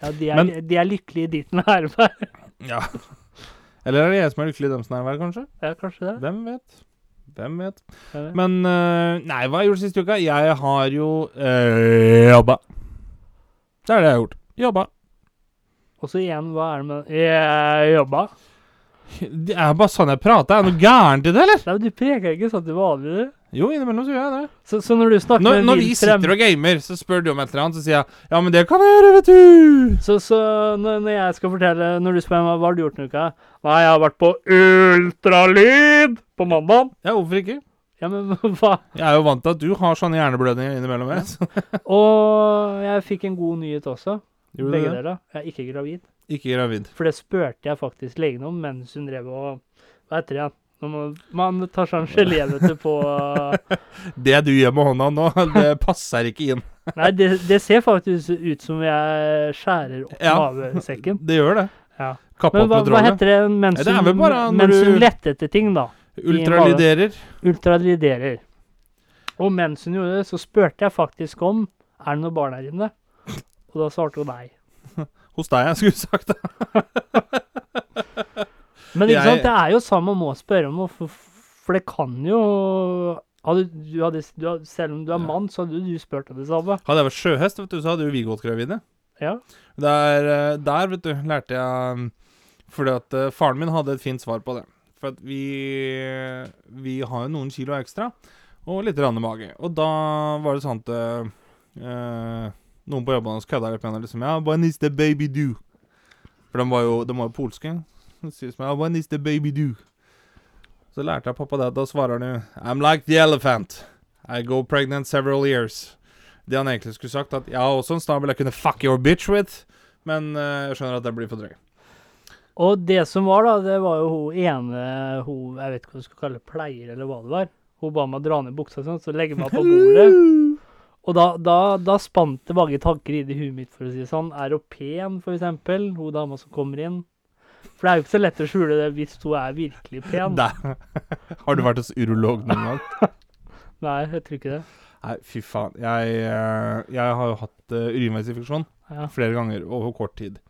S1: Ja, de er,
S3: Men-
S1: de er lykkelige i ditt nærvær.
S3: Ja. Eller er det jeg som er lykkelig i dems nærvær, kanskje?
S1: Ja, kanskje det.
S3: Hvem vet? Hvem vet?
S1: Ja, det.
S3: Men eh, Nei, hva har jeg gjort siste uka? Jeg har jo eh, jobba. Det er det jeg har gjort. Jobba.
S1: Og så igjen, hva er det med Jeg jobba.
S3: Det er bare sånn jeg prater. Er det noe gærent i det, eller?
S1: Nei, men du preker ikke sånn til vanlig. du.
S3: Jo, innimellom så gjør jeg det.
S1: Så, så når du snakker
S3: Når,
S1: med
S3: når vi
S1: Lillestrøm-
S3: sitter og gamer, så spør du om et eller annet, så sier jeg Ja, men det kan jeg gjøre, vet du.
S1: Så, så når, når jeg skal fortelle Når du spør meg hva har du gjort denne uka Nei, jeg har vært på ultralyd på mandag.
S3: Ja, hvorfor ikke?
S1: Ja, men hva?
S3: Jeg er jo vant til at du har sånne hjerneblødninger innimellom. Jeg. så-
S1: Og jeg fikk en god nyhet også.
S3: Gjorde du
S1: Begge
S3: det?
S1: deler. Jeg er ikke gravid.
S3: Ikke gravid.
S1: For det spurte jeg faktisk legen om mens hun drev og Hva heter det igjen? Når man, man tar sånn gelé, vet du, på
S3: Det du gjør med hånda nå, det passer ikke inn.
S1: Nei, det, det ser faktisk ut som jeg skjærer opp
S3: Ja.
S1: mavesekken.
S3: Det gjør det.
S1: Ja.
S3: Kappe
S1: Men
S3: opp
S1: hva,
S3: med
S1: hva
S3: trådet.
S1: heter det
S3: Nei,
S1: mens
S3: det er
S1: hun,
S3: vel bare når
S1: mens hun
S3: du-
S1: lette etter ting, da?
S3: Ultralyderer.
S1: Ultralyderer. Og mens hun gjorde det, så spurte jeg faktisk om er det noe barn her inne. Og da svarte hun nei.
S3: Hos deg, jeg skulle sagt det.
S1: Men ikke
S3: Jeg-
S1: sant, det er jo sånn man må spørre om, og for, for det kan jo hadde, du hadde, du hadde, Selv om du er mann, så hadde du spurt om det samme.
S3: Hadde jeg vært sjøhest, vet du, så hadde jo vi gått gravide.
S1: Ja.
S3: Der, eh, der, vet du, lærte jeg mm, Fordi at eh, faren min hadde et fint svar på det. For at vi Vi har jo noen kilo ekstra, og litt rande mage. Og da var det sånn at eh, eh, noen på jobben hans kødda litt med henne. Liksom, ja, 'When is the baby do?' For de var jo, de var jo polske. Så sier de, ja, 'When is the baby do?' Så lærte jeg pappa det. Da svarer han jo 'I'm like the elephant. I go pregnant several years'. Det han egentlig skulle sagt, at 'Jeg har også en snabel jeg kunne fuck your bitch with'. Men eh, jeg skjønner at det blir for drøy.
S1: Og det som var, da, det var jo hun ene hun, Jeg vet ikke hva du skal kalle det, pleier, eller hva det var. Hun ba meg dra ned buksa, sånn, så legge meg på bordet. Og da, da, da spant det mange tanker i det huet mitt, for å si det sånn. Er hun pen, for eksempel? Hun dama som kommer inn. For det er jo ikke så lett å skjule det hvis hun er virkelig pen.
S3: Der. Har du vært hos urolog noen gang?
S1: Nei, jeg tror ikke det.
S3: Nei, fy faen. Jeg, eh, jeg har jo hatt uh, urinveisinfeksjon
S1: Ja.
S3: flere ganger over kort tid.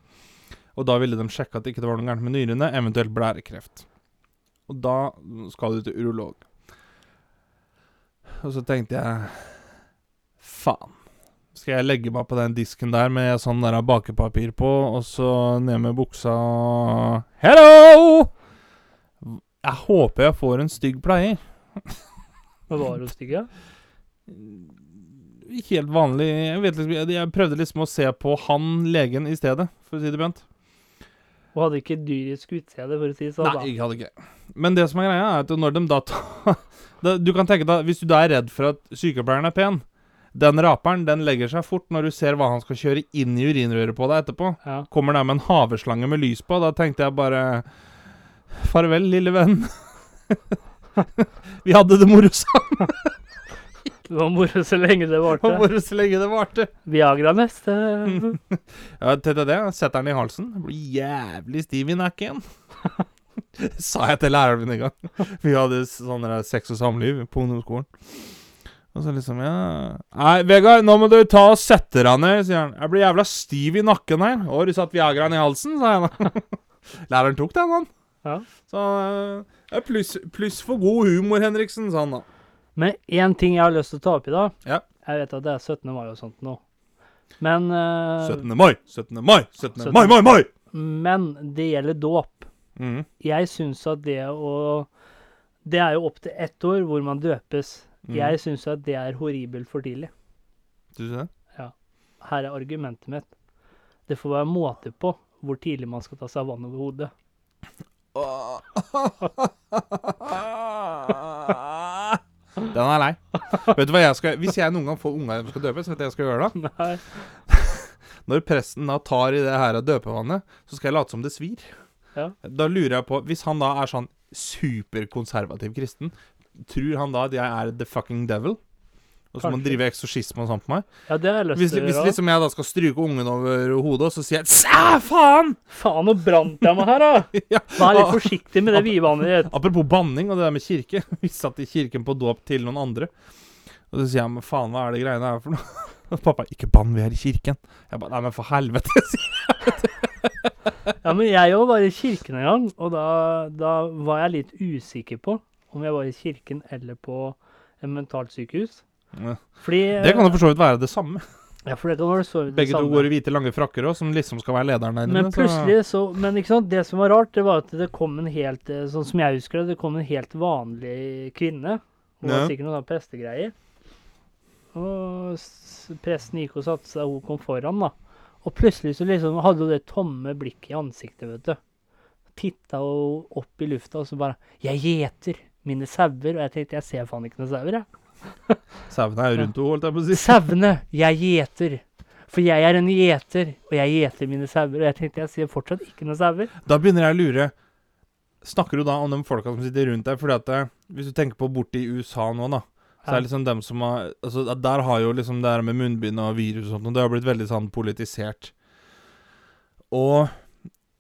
S3: Og da ville de sjekke at det ikke var noe gærent med nyrene, eventuelt blærekreft. Og da skal du til urolog. Og så tenkte jeg Faen. Skal jeg legge meg på den disken der med sånn der bakepapir på, og så ned med buksa Hello! Jeg håper jeg får en stygg pleier.
S1: Men var hun stygg, ja?
S3: helt vanlig jeg, vet liksom, jeg, jeg prøvde liksom å se på han legen i stedet, for å si det pent.
S1: Hun hadde ikke dyrisk utseende, for å si det sånn.
S3: Nei, jeg hadde ikke. Men det som er greia, er at når de da tar da, Du kan tenke deg, hvis du da er redd for at sykepleieren er pen Den raperen den legger seg fort når du ser hva han skal kjøre inn i urinrøret på deg etterpå.
S1: da. Ja.
S3: Kommer der med en haveslange med lys på, da tenkte jeg bare Farvel, lille venn. Vi hadde det moro sammen,
S1: Det var moro så lenge det varte.
S3: bare så lenge det varte.
S1: Viagra neste.
S3: Ja, TTD. Setter den i halsen. Blir jævlig stiv i nakken. Sa jeg til læreren min en gang. Vi hadde sånn der sex og samliv på ungdomsskolen. Og så liksom ja Nei, Vegard, nå må du ta og sette deg ned, sier han. Jeg blir jævla stiv i nakken her. Å, har du satt Viagraen i halsen, sa jeg da. læreren tok den, han.
S1: Ja.
S3: Så eh, pluss, pluss for god humor, Henriksen, sa han da.
S1: Men én ting jeg har lyst til å ta opp i dag.
S3: Ja.
S1: Jeg vet at det er 17. mai og sånt nå. Men, eh,
S3: 17. mai, 17. mai, 17. mai,
S1: 17.
S3: mai, mai!
S1: men det gjelder dåp.
S3: Mhm.
S1: jeg syns at det å Det er jo opp til ett år hvor man døpes.
S3: Mhm.
S1: Jeg syns at det er horribelt for tidlig.
S3: Du ser det?
S1: Her er argumentet mitt. Det får være måte på hvor tidlig man skal ta seg vann over hodet.
S3: Den er lei. Vet du hva jeg skal Hvis jeg noen gang får unger som skal døpes, vet du hva jeg skal gjøre da?
S1: Nei.
S3: Når presten da tar i det her døpevannet, så skal jeg late som det svir.
S1: Ja.
S3: Da lurer jeg på Hvis han da er sånn superkonservativ kristen, tror han da at jeg er the fucking devil? Og så må han
S1: Kanskje.
S3: drive eksorsisme og sånt på meg?
S1: Ja, det har jeg lyst
S3: Hvis,
S1: til å
S3: hvis
S1: gjøre.
S3: liksom jeg da skal stryke ungen over hodet, og så sier jeg Sæ, faen!
S1: Faen, nå brant jeg meg her, da!
S3: Ja. Ah.
S1: Vær litt forsiktig med det vidvannet ditt.
S3: Apropos banning og det der med kirke. Vi satt i kirken på dåp til noen andre. Og så sier jeg men faen, hva er det greiene her for noe? Og pappa ikke bann, vi er i kirken. Jeg bare nei, men for helvete. sier jeg.
S1: Ja, men jeg òg var i kirken en gang, og da, da var jeg litt usikker på om jeg var i kirken eller på et mentalsykehus. Fordi
S3: Det kan jo for så vidt være det samme.
S1: Ja, for det kan være så det
S3: Begge to
S1: samme.
S3: går i hvite, lange frakker også, som liksom skal være lederen der inne.
S1: Men plutselig så Men ikke sant, det som var rart, det var at det kom en helt eh, Sånn som jeg husker det, det kom en helt vanlig kvinne. Hun var
S3: Ja.
S1: sikkert noen sånne prestegreier. Og s- presten gikk og satte seg, og hun kom foran, da. Og plutselig så liksom hadde hun det tomme blikket i ansiktet, vet du. Titta hun opp i lufta og så bare 'Jeg gjeter mine sauer.' Og jeg tenkte 'Jeg ser faen ikke noen sauer, jeg'.
S3: Så sauene er jo rundt henne, holdt jeg på å si.
S1: Sauene. Jeg gjeter. For jeg er en gjeter, og jeg gjeter mine sauer. Og jeg tenkte jeg ser fortsatt ikke noen sauer.
S3: Da begynner jeg å lure. Snakker du da om de folka som sitter rundt deg? Fordi at eh, Hvis du tenker på borti USA nå, da. Så
S1: Ja.
S3: er det liksom dem som har altså, Der har jo liksom det her med munnbind og virus og sånt, og det har blitt veldig sånn politisert. Og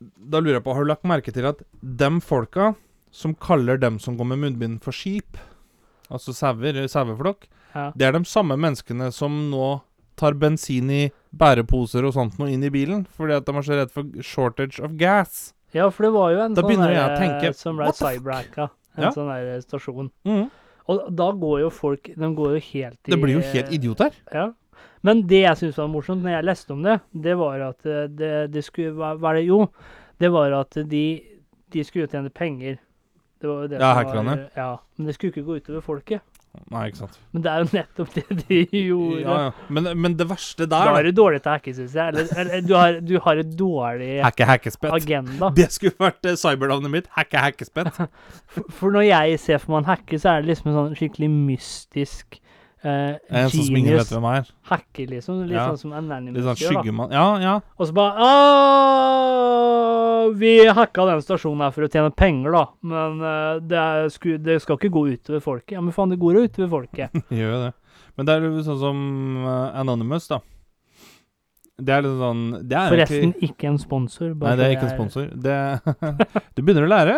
S3: da lurer jeg på, har du lagt merke til at dem folka som kaller dem som går med munnbind for skip, altså sauer, saueflokk,
S1: Ja.
S3: det er de samme menneskene som nå tar bensin i bæreposer og sånt noe inn i bilen, fordi at de er så redd for shortage of gas.
S1: ja, for det var jo en
S3: Da
S1: sånn
S3: begynner jeg
S1: der,
S3: å tenke,
S1: eh, som ble
S3: what the fuck?
S1: cyberhacka. En
S3: Ja.
S1: sånn der stasjon.
S3: Mm.
S1: Og da går jo folk De går jo helt i
S3: Det blir jo
S1: eh,
S3: helt idioter.
S1: Ja. Men det jeg syntes var morsomt når jeg leste om det, det var at eh, det, det skulle hva- Hva er det? Jo, det var at de, de skulle jo tjene penger. Det var jo det
S3: Ja,
S1: som var,
S3: hackerne.
S1: ja, men det skulle ikke gå utover folket.
S3: Nei, ikke sant.
S1: Men det er jo nettopp det de gjorde.
S3: Ja, ja. Men, men det verste
S1: Da er
S3: der
S1: du dårlig til å hacke, syns jeg. Eller, eller du, har, du har et dårlig
S3: Hacke hackespett.
S1: agenda.
S3: Det skulle vært eh, cybernavnet mitt. Hacke hackespett.
S1: For når jeg ser for meg en hacker, så er det liksom en sånn skikkelig mystisk eh,
S3: En som ingen vet
S1: genius
S3: hvem er.
S1: hacker, liksom. Litt
S3: Ja.
S1: sånn som Anonymous
S3: Litt sånn
S1: gjør, da.
S3: skyggemann. Ja, ja.
S1: Og så bare «Åh, Vi hacka den stasjonen her for å tjene penger, da. Men eh, det, er, sku, det skal ikke gå utover folket. Ja, men faen, det går jo utover folket.
S3: Gjør jo det. Men det er jo sånn som eh, Anonymous, da. Det er litt sånn Det er
S1: Forresten,
S3: egentlig
S1: ikke en sponsor.
S3: Nei, det er ikke en sponsor. Det Du begynner å lære.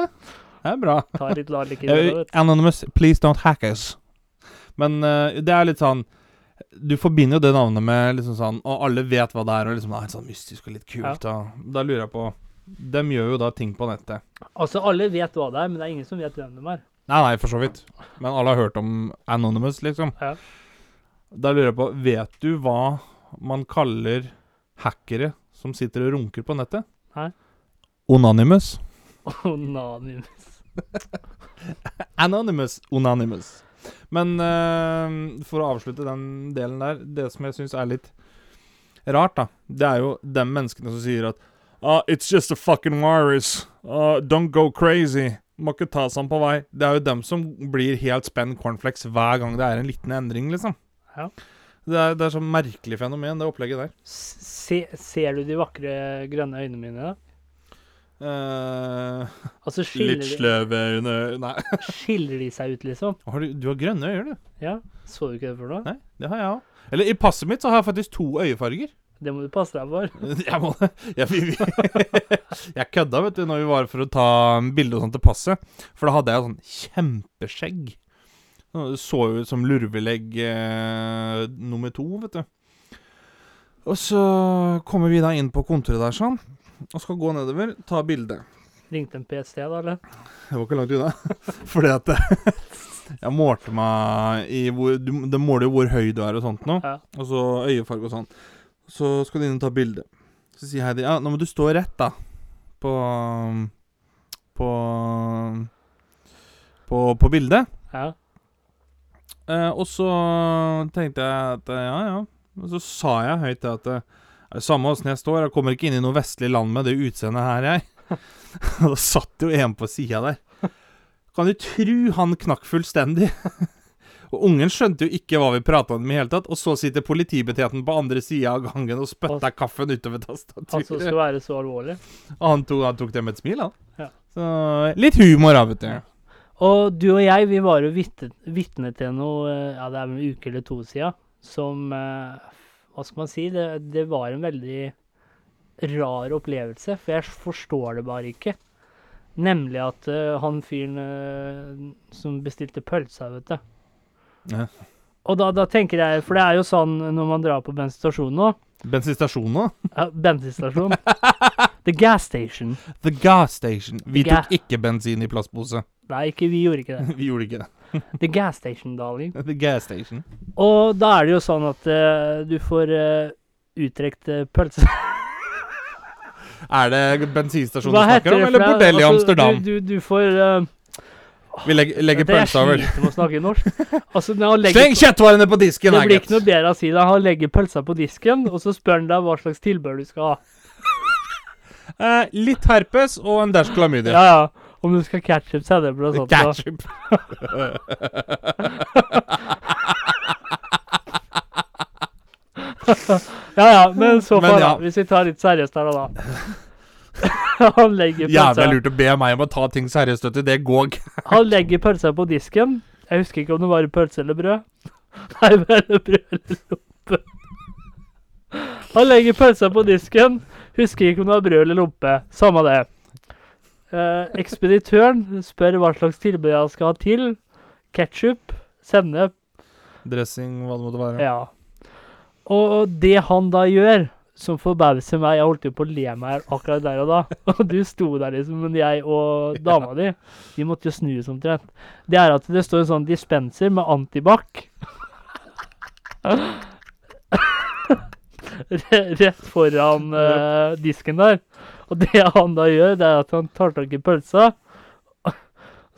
S3: Det er bra.
S1: Ta litt larlik i det,
S3: Eh,
S1: vet du.
S3: Anonymous, please don't hack us. Men eh, det er litt sånn Du forbinder jo det navnet med liksom sånn Og alle vet hva det er, og liksom det er sånn mystisk og litt kult. Og, da lurer jeg på De gjør jo da ting på nettet.
S1: Altså, alle vet hva det er, men det er ingen som vet hvem de er.
S3: Nei, nei, for så vidt. Men alle har hørt om Anonymous, liksom.
S1: Ja.
S3: Da lurer jeg på Vet du hva man kaller hackere som sitter og runker på nettet?
S1: Nei.
S3: Onanimous.
S1: Onanimus.
S3: Anonymous, Onanimous. Men eh, for å avslutte den delen der Det som jeg syns er litt rart, da, det er jo de menneskene som sier at «Ah, It's just a fucking virus. Ah, don't go crazy. Må ikke ta sånn på vei. Det er jo dem som blir helt spenn cornflakes hver gang det er en liten endring, liksom.
S1: Ja.
S3: Det er, det er så merkelig fenomen, det opplegget der.
S1: Se, ser du de vakre grønne øynene mine? da?
S3: Eh,
S1: Altså, skiller, de,
S3: sløve øyne Nei.
S1: skiller de seg ut, liksom?
S3: Har du, du har grønne øyne, du.
S1: Ja, Så du ikke det for noe?
S3: Nei, det har jeg òg. Eller i passet mitt så har jeg faktisk to øyefarger.
S1: Det må du passe deg for.
S3: Jeg, må, jeg, vi, vi, jeg kødda, vet du, når vi var for å ta bilde og sånt til passet. For da hadde jeg sånn kjempeskjegg. Sånn, Det så jo ut som lurvelegg eh, nummer to, vet du. Og så kommer vi da inn på kontoret der sånn, og skal gå nedover, ta bilde.
S1: Ringte en PST, da, eller?
S3: Det var ikke langt unna. Fordi at Jeg målte meg i hvor du, Det måler jo hvor høy du er og sånt nå.
S1: Ja.
S3: Og så øyefarge og sånn. Så skal du inn og ta bilde. Så sier Heidi ja, nå må du stå rett, da. På um, På um, På, på bildet.
S1: Ja.
S3: Eh, og så tenkte jeg at eh, ja, ja. Og så sa jeg høyt det at eh, er det samme åssen jeg står, jeg kommer ikke inn i noe vestlig land med det utseendet her, jeg. Og da satt jo en på sida der. Kan du tru han knakk fullstendig? Og ungen skjønte jo ikke hva vi prata om i hele tatt, og så sitter politibetjenten på andre sida av gangen og spytter kaffen utover
S1: Han som Altså, skal
S3: tastaturet.
S1: være så alvorlig.
S3: Og han tok, han tok det med et smil, han.
S1: Ja.
S3: Så litt humor, da, vet du.
S1: Og du og jeg, vi var jo vitne, vitne til noe eh, Ja, det er vel en uke eller to siden. Som eh, Hva skal man si? Det, det var en veldig rar opplevelse, for jeg forstår det bare ikke. Nemlig at eh, han fyren eh, som bestilte pølsa, vet du.
S3: Ja.
S1: Og da, da tenker jeg, for det er jo sånn når man drar på bensinstasjonen nå
S3: Bensinstasjonen nå?
S1: ja, Bensinstasjon. The gas station.
S3: The gas station. Vi
S1: The ga-
S3: tok ikke bensin i plastpose.
S1: Nei, ikke, vi gjorde ikke det.
S3: Vi gjorde ikke det.
S1: The gas station, darling.
S3: The gas station.
S1: Og da er det jo sånn at eh, du får uh, uttrekt eh, pølse.
S3: Er det bensinstasjonen du snakker om, eller
S1: for noe?
S3: bordell i
S1: Altså,
S3: Amsterdam?
S1: Du, du, du får eh,
S3: Vi legger, legger pølsa over.
S1: Det er sliter med å snakke norsk. Altså, når han legger
S3: Sleng kjøttvarene på disken,
S1: Det
S3: er
S1: blir ikke noe
S3: greit.
S1: bedre å si det. Han legger pølsa på disken, og så spør han deg hva slags tilbehør du skal ha.
S3: Eh, litt herpes og en dash klamydia.
S1: Ja, ja. Om du skal ketchup, sennep og sånt. da.
S3: Ketchup.
S1: Ja, ja, men så
S3: Men
S1: far,
S3: ja.
S1: da. Hvis vi tar litt seriøst her, da. Han legger
S3: Jævla
S1: pølsa,
S3: lurt å be meg om å ta ting seriøst, vet du. Det går ikke.
S1: han legger pølsa på disken. Jeg husker ikke om det var pølse eller brød. Nei, bare brød eller lompe. Han legger pølsa på disken. Husker ikke om det var brød eller lompe. Samme det. Eh, ekspeditøren spør hva slags tilbud han skal ha til. Ketsjup, sennep
S3: Dressing, hva det måtte være.
S1: Ja. Og det han da gjør, som forbauser meg Jeg holdt jo på å le meg i hjel akkurat der og da. Og du sto der liksom, men jeg og dama di, vi måtte jo snu oss omtrent. Det er at det står en sånn dispenser med antibac. Re- Rett foran eh, disken der. Og det han da gjør, det er at han tar tak i pølsa.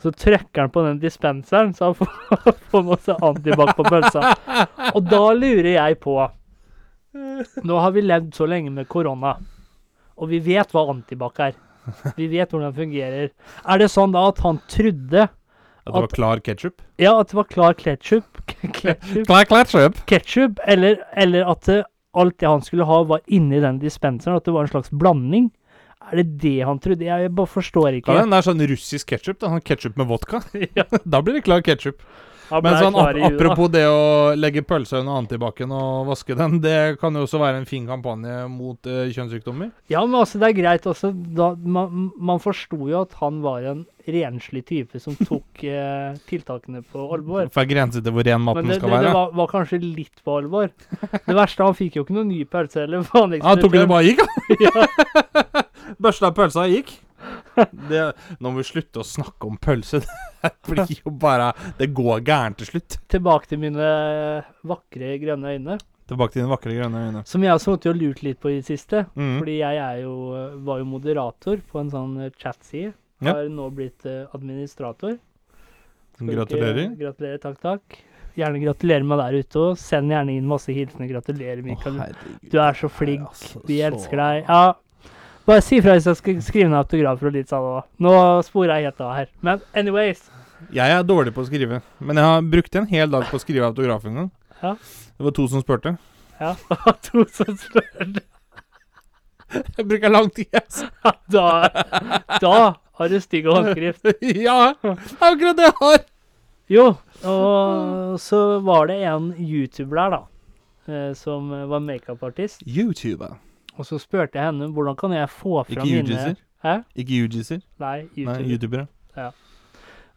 S1: Så trykker han på den dispenseren, så han får, får masse antibac på pølsa. Og da lurer jeg på Nå har vi levd så lenge med korona, og vi vet hva antibac er. Vi vet hvordan den fungerer. Er det sånn da at han trodde
S3: At det var klar ketsjup?
S1: ja, at det var klar ketsjup, ketchup,
S3: Klar ketsjup!
S1: ketchup eller, eller at det, alt det han skulle ha, var inni den dispenseren? At det var en slags blanding? Er det det han trodde? Jeg bare forstår ikke.
S3: Det er sånn russisk ketsjup. Sånn ketsjup med vodka.
S1: Ja.
S3: Da blir det klar ketsjup.
S1: Han ble
S3: Men sånn,
S1: klar i huet, da.
S3: apropos det å legge pølsa under antibac-en og vaske den, det kan jo også være en fin kampanje mot eh, kjønnssykdommer.
S1: Ja, men altså, det er greit også. Da, man, man forsto jo at han var en renslig type som tok eh, tiltakene på alvor.
S3: For det er grenser til hvor ren
S1: Men
S3: maten
S1: det, det,
S3: skal være.
S1: det var, var kanskje litt på alvor. Det verste, han fikk jo ikke noen ny pølse eller vanlig
S3: Ja, han Ah, tok det bare gikk, han. Børsta pølsa gikk. Det, nå må vi slutte å snakke om pølse. Det blir jo bare Det går gærent til slutt.
S1: Tilbake til mine eh, vakre grønne øyne,
S3: Tilbake til dine vakre grønne øyne.
S1: som jeg har sittet og lurt litt på i det siste.
S3: Mm.
S1: Fordi jeg er jo, eh, var jo moderator på en sånn eh, chat-side.
S3: Ja.
S1: Har nå blitt eh, administrator. Skal ikke-
S3: Gratulerer.
S1: Gratulerer, takk, takk. Gjerne gratulerer meg der ute òg. Send gjerne inn masse hilsener. Gratulerer, Mikael. du er så flink.
S3: altså,
S1: Vi elsker deg. Ja. Bare si ifra hvis jeg skal skrive ned autografer og litt sånn òg. Nå sporer jeg helt av her. Men anyways.
S3: Jeg er dårlig på å skrive, men jeg har brukt en hel dag på å skrive autograf en gang.
S1: Ja.
S3: Det var to som spurte.
S1: Ja, to som spør.
S3: Jeg bruker lang tid, altså.
S1: Da, da har du stygg håndskrift.
S3: ja, akkurat det jeg har.
S1: Jo, og så var det en YouTuber der, da. eh, Som var makeupartist.
S3: YouTuber.
S1: Og så spurte jeg henne hvordan kan jeg få fram
S3: Ikke
S1: mine
S3: UGiser?
S1: Hæ?
S3: Ikke UGiser?
S1: Nei,
S3: Nei,
S1: YouTuber.
S3: youtubere.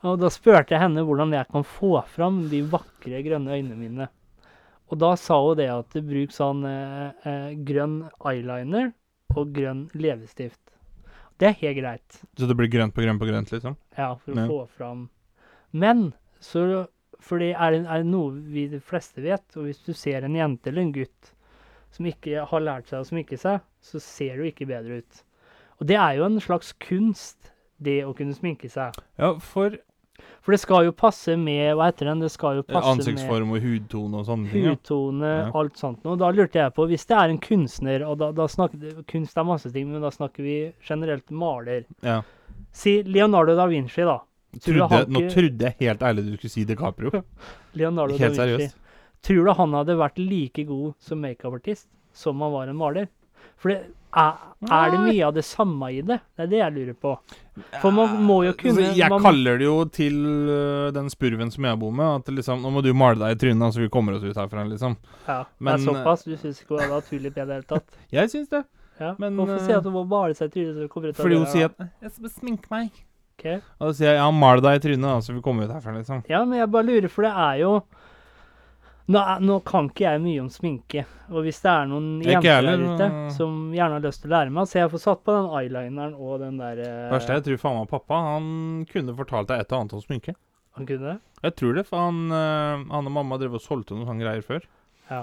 S1: Og da spurte jeg henne hvordan jeg kan få fram de vakre grønne øynene mine. Og da sa hun det at bruk sånn eh, eh, grønn eyeliner og grønn leppestift. Det er helt greit,
S3: Så det blir grønt på grønt på grønt, liksom?
S1: ja, for å
S3: Ja.
S1: få fram Men så For det er, er det noe vi de fleste vet, og hvis du ser en jente eller en gutt som ikke har lært seg å sminke seg, så ser du ikke bedre ut. Og det er jo en slags kunst, det å kunne sminke seg.
S3: Ja, for eh,
S1: For det skal jo passe med Hva heter den? Det skal jo passe
S3: Ansiktsform og hudtone og
S1: med
S3: sånne ting. Eh, ja.
S1: hudtone,
S3: Ja.
S1: alt sånt noe. Da lurte jeg på, hvis det er en kunstner og da, da snakker, Kunst er masse ting, men da snakker vi generelt maler.
S3: Ja.
S1: Si Leonardo da Vinci, da. Tror du
S3: Trodde,
S1: han
S3: nå
S1: ikke-
S3: trodde jeg helt ærlig du skulle si DiCaprio.
S1: Leonardo
S3: Helt
S1: da Vinci.
S3: seriøst.
S1: Tror du han hadde vært like god som makeupartist som han var en maler? For det, er, er det
S3: Nei.
S1: mye av det samme i det? Det er det jeg lurer på. For man må jo kunne
S3: Altså, Jeg
S1: man,
S3: kaller det jo til øh, den spurven som jeg bor med, at liksom Nå må du male deg i trynet, så vi kommer oss ut herfra, liksom.
S1: ja, Det
S3: men,
S1: er såpass? Du syns ikke hun hadde hatt tulip i det hele tatt?
S3: Jeg syns det.
S1: Ja.
S3: Men,
S1: Hvorfor
S3: eh,
S1: sier du at hun må male seg i trynet? så hun kommer ut av
S3: Fordi
S1: døra,
S3: hun
S1: da?
S3: sier at Jeg skal sminke meg.
S1: Ok.
S3: Og da altså, sier jeg ja, mal deg i trynet, da, så vi kommer ut herfra, liksom.
S1: Ja, men jeg bare lurer, for det er jo Nå, er- nå kan ikke jeg mye om sminke, og hvis det er noen
S3: Ikke jeg
S1: jenter der
S3: heller,
S1: ute
S3: men-
S1: som gjerne har lyst til å lære meg, så jeg får satt på den eyelineren og den der eh,
S3: Verst er jeg tror faen meg pappa han kunne fortalt deg et og annet om sminke.
S1: Han kunne det?
S3: Jeg tror det, for han, eh, han og mamma drev og solgte noen sånne greier før.
S1: Ja.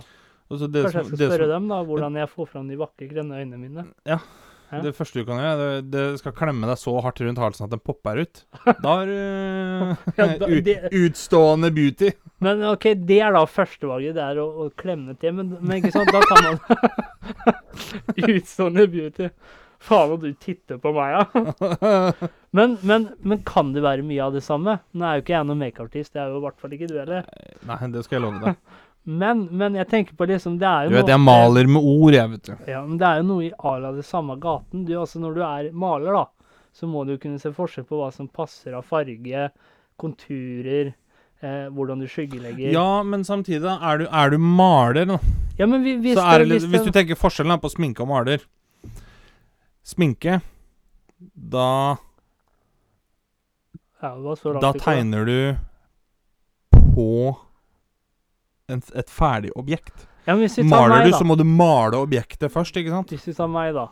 S3: Og så
S1: Kanskje
S3: det,
S1: jeg
S3: som-
S1: skal
S3: det,
S1: spørre
S3: som,
S1: dem da, hvordan jeg får fram de vakre grønne øynene mine. Hæ?
S3: det første du kan gjøre, det, det skal klemme deg så hardt rundt halsen at den popper ut. Da er du
S1: Ja, da-
S3: u-
S1: det-
S3: utstående beauty.
S1: Men OK, det er da førstevalget, det er å, å klemme til, men, men ikke sant, da kan man Utstående beauty. Faen, og du titter på meg, ja. Men, men, men kan det være mye av det samme? Nå er jo ikke jeg noen makeupartist, det er jo i hvert fall ikke du heller.
S3: Nei, det skal jeg love deg.
S1: Men, men jeg tenker på liksom Det er jo
S3: Du vet,
S1: noe-
S3: jeg maler med ord, jeg, vet du.
S1: Ja, men det er jo noe i à la det samme gaten. Du, altså når du er maler, da, så må du kunne se forskjell på hva som passer av farge, konturer, eh, hvordan du skyggelegger.
S3: Ja, men samtidig, da, er du, er du maler, da,
S1: Ja, men vi- hvis,
S3: så er det
S1: det,
S3: litt Hvis du tenker forskjellen da på sminke og maler Sminke Da,
S1: ja, det var så rart
S3: da
S1: det kom.
S3: tegner du på en, et ferdig objekt.
S1: ja, men hvis vi tar
S3: Maler
S1: meg,
S3: du,
S1: da.
S3: så må du male objektet først, ikke sant?
S1: Hvis vi tar meg, da.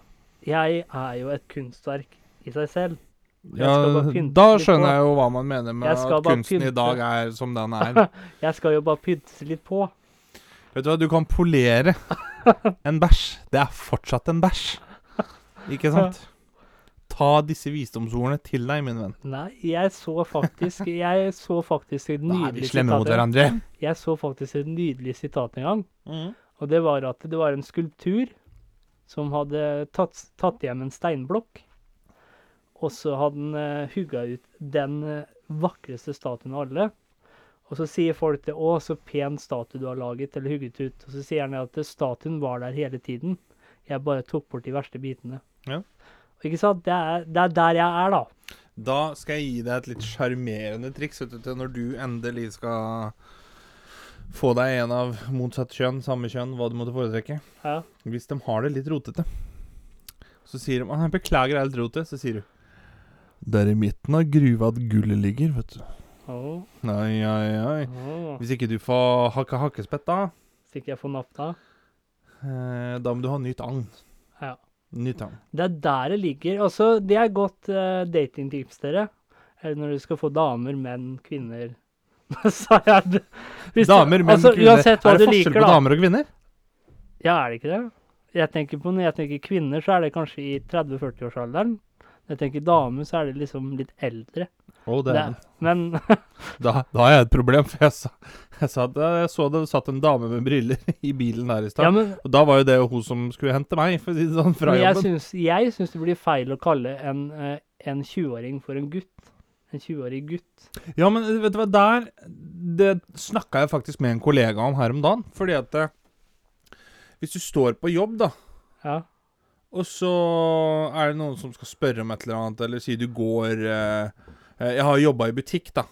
S1: Jeg er jo et kunstverk i seg selv. Jeg
S3: Ja,
S1: skal bare pynte
S3: da
S1: litt
S3: skjønner
S1: på.
S3: jeg jo hva man mener med
S1: Jeg skal
S3: at
S1: bare
S3: kunsten i
S1: pynte.
S3: dag er som den er.
S1: Jeg skal jo bare pynte litt på.
S3: Vet du hva, du kan polere en bæsj. Det er fortsatt en bæsj. Ikke sant? Ta disse visdomsordene til deg, min venn.
S1: Nei, jeg så faktisk Jeg så faktisk et
S3: Da er vi
S1: nydelig
S3: slemme mot
S1: sitat.
S3: hverandre.
S1: Jeg så faktisk et nydelig sitat en gang. Og det var at det var en skulptur som hadde tatt, tatt hjem en steinblokk. Og så hadde han uh, hugga ut den eh, vakreste statuen av alle. Og så sier folk det 'Å, så pen statue du har laget', eller hugget ut. Og så sier han at statuen var der hele tiden. Jeg bare tok bort de verste bitene.
S3: Ja.
S1: Og Ikke sant? Det er, det er der jeg er, da.
S3: Da skal jeg gi deg et litt sjarmerende triks vet du, til når du endelig skal få deg en av motsatt kjønn, samme kjønn, hva du måtte foretrekke.
S1: Ja.
S3: Hvis de har det litt rotete, så sier de «Ah, 'Jeg beklager, det er litt rotet', så sier du 'Det er i midten av gruva at gullet ligger', vet du.
S1: Å,
S3: Oi, oi, oi.
S1: å.
S3: Hvis ikke du får hakka hakkespett, da
S1: Hvis ikke jeg får napp da.
S3: eh, Da må du ha nytt agn.
S1: Ja.
S3: Nytt agn.
S1: Det er der det ligger. Altså, det er godt eh, datingtips, dere. Eller når du skal få damer, menn, kvinner Så er det Hvis du-
S3: Damer, menn,
S1: altså,
S3: kvinner.
S1: Uansett hva
S3: er det
S1: du
S3: forskjell
S1: liker,
S3: på
S1: da.
S3: damer og kvinner?
S1: Ja, er det ikke det? Jeg tenker på Når jeg tenker kvinner, så er det kanskje i 30-40-årsalderen. Når jeg tenker damer, så er det liksom litt eldre.
S3: Å, det er,
S1: Det- Men
S3: da, da har jeg et problem, for jeg sa, jeg, sa, at eh, jeg så det satt en dame med briller i bilen der i stad.
S1: ja, men,
S3: og da var jo det jo hun som skulle hente meg, for å si det sånn, fra
S1: men jeg
S3: jobben.
S1: syns, jeg syns det blir feil å kalle en, eh, en 20-åring for en gutt. En 20-årig gutt.
S3: Ja, men vet du hva, der Det snakka jeg faktisk med en kollega om her om dagen, fordi at eh, Hvis du står på jobb, da,
S1: Ja.
S3: Og så er det noen som skal spørre om et eller annet, eller si du går eh, eh, Jeg har jobba i butikk, da.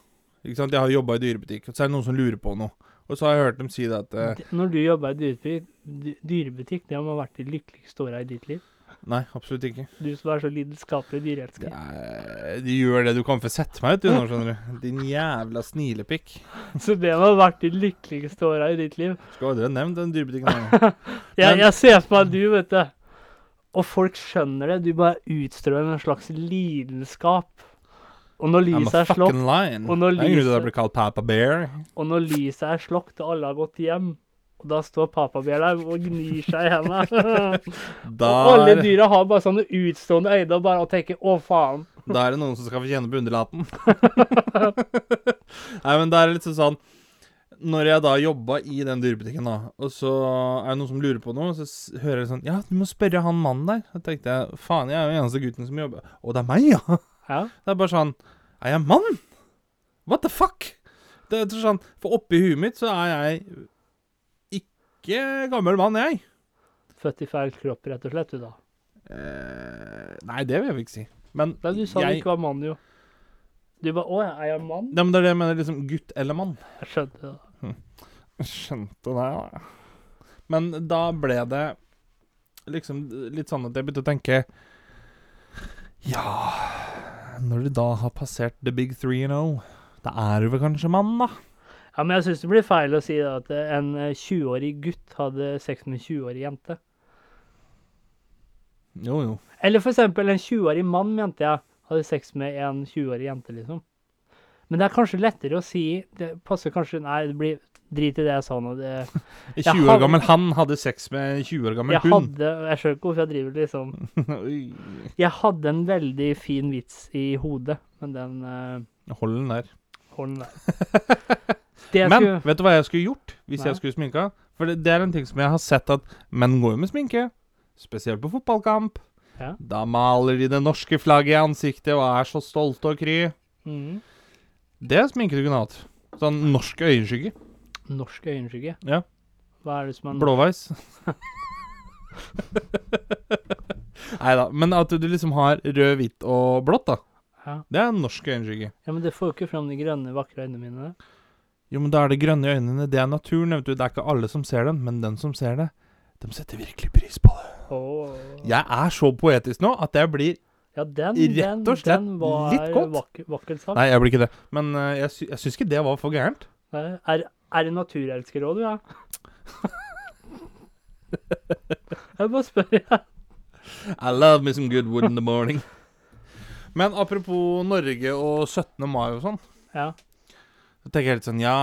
S3: Ikke sant? Jeg har jobba i dyrebutikk. Og så er det noen som lurer på noe. Og så har jeg hørt dem si det at eh,
S1: Det- Når du jobber i dyrebutikk, dy- dyrebutikk, det må ha vært de lykkeligste åra i ditt liv.
S3: Nei, absolutt ikke.
S1: Du som er så lidenskapelig
S3: Det
S1: dyreelsker.
S3: er, de gjør det du kan for å sette meg ut, du nå, skjønner du. Din jævla snilepikk.
S1: Så det må ha vært de lykkeligste åra i ditt liv.
S3: Skal aldri ha nevnt den dyrebutikken. her.
S1: Jeg,
S3: Men-
S1: jeg ser for meg du, vet du. Og folk skjønner det. Du bare utstrør en slags lidenskap. Og når
S3: I'm a
S1: lyset er slått,
S3: fucking lion.
S1: og når
S3: Det er en grunn til at
S1: lyset-
S3: jeg ble kalt Papa Bear.
S1: og når lyset er slått, og alle har gått hjem, og da står papabjørn der og gnir seg i hendene. Og alle
S3: Der,
S1: dyra har bare sånne utstående øyne og bare og tenker 'å, faen'.
S3: Da er det noen som skal få kjenne på underlaten. Nei, men det er litt sånn Når jeg da jobba i den dyrebutikken, da, og så er det noen som lurer på noe, så s- hører jeg sånn Ja, du må spørre han mannen der. Da tenkte jeg faen, jeg er jo eneste gutten som jobber Å, det er meg, ja!
S1: Ja.
S3: Det er bare sånn Er jeg mann? What the fuck? Det er sånn, For oppi huet mitt så er jeg ikke gammel mann, jeg.
S1: Født i feil kropp, rett og slett, du, da.
S3: Eh, nei, det vil jeg vel ikke si. Men
S1: Men du sa du
S3: jeg
S1: ikke var mann, jo. Du bare 'Å, jeg er en mann'?
S3: Nei, men Det er det jeg mener. liksom Gutt eller mann.
S1: Jeg skjønte det.
S3: Skjønte det, ja. Men da ble det liksom litt sånn at jeg begynte å tenke Ja Når du da har passert the big three and oh, da er du vel kanskje mann, da?
S1: Ja, men jeg syns det blir feil å si da at eh, en eh, 20-årig gutt hadde sex med en 20-årig jente.
S3: Jo, jo.
S1: Eller for eksempel en 20-årig mann, mente jeg, hadde sex med en 20-årig jente, liksom. Men det er kanskje lettere å si Det passer kanskje Nei, det blir drit i det jeg sa nå. Det,
S3: En
S1: Jeg
S3: 20 år
S1: hadde-
S3: gammel han hadde sex med en 20 år gammel
S1: jeg
S3: hund.
S1: hadde Jeg skjønner ikke hvorfor jeg driver liksom
S3: Oi.
S1: Jeg hadde en veldig fin vits i hodet, men den eh,
S3: Hold den der.
S1: holder den der. Det jeg
S3: Men
S1: skulle
S3: vet du hva jeg skulle gjort hvis
S1: Nei.
S3: jeg skulle sminka? For det, det er en ting som jeg har sett at menn går jo med sminke. Spesielt på fotballkamp.
S1: Ja.
S3: Da maler de det norske flagget i ansiktet og er så stolte og kry.
S1: mm,
S3: Det er sminke du kunne hatt. Sånn norsk øyenskygge.
S1: Norsk øyenskygge.
S3: Ja.
S1: Hva er det som er
S3: Blåveis. Nei da. Men at du liksom har rød, hvitt og blått, da.
S1: Ja.
S3: Det er norsk øyenskygge.
S1: ja, men det får jo ikke fram de grønne, vakre øynene mine.
S3: Jo, men da er det grønne i øynene. Det er naturen, vet du. Det er ikke alle som ser den, men den som ser det, de setter virkelig pris på det.
S1: Åh.
S3: Jeg er så poetisk nå at jeg blir
S1: Ja, den,
S3: Rett og
S1: den,
S3: slett
S1: den var
S3: litt godt.
S1: Vakker, vakkert sagt.
S3: Nei, jeg blir ikke det. Men eh, jeg, sy jeg syns ikke det var for gærent.
S1: Nei, Er, er det naturelsker òg, du? Ja? jeg bare spør, jeg.
S3: I love me some good wood in the morning. Men apropos Norge og 17. mai og sånn.
S1: Ja.
S3: Så tenker jeg litt sånn, ja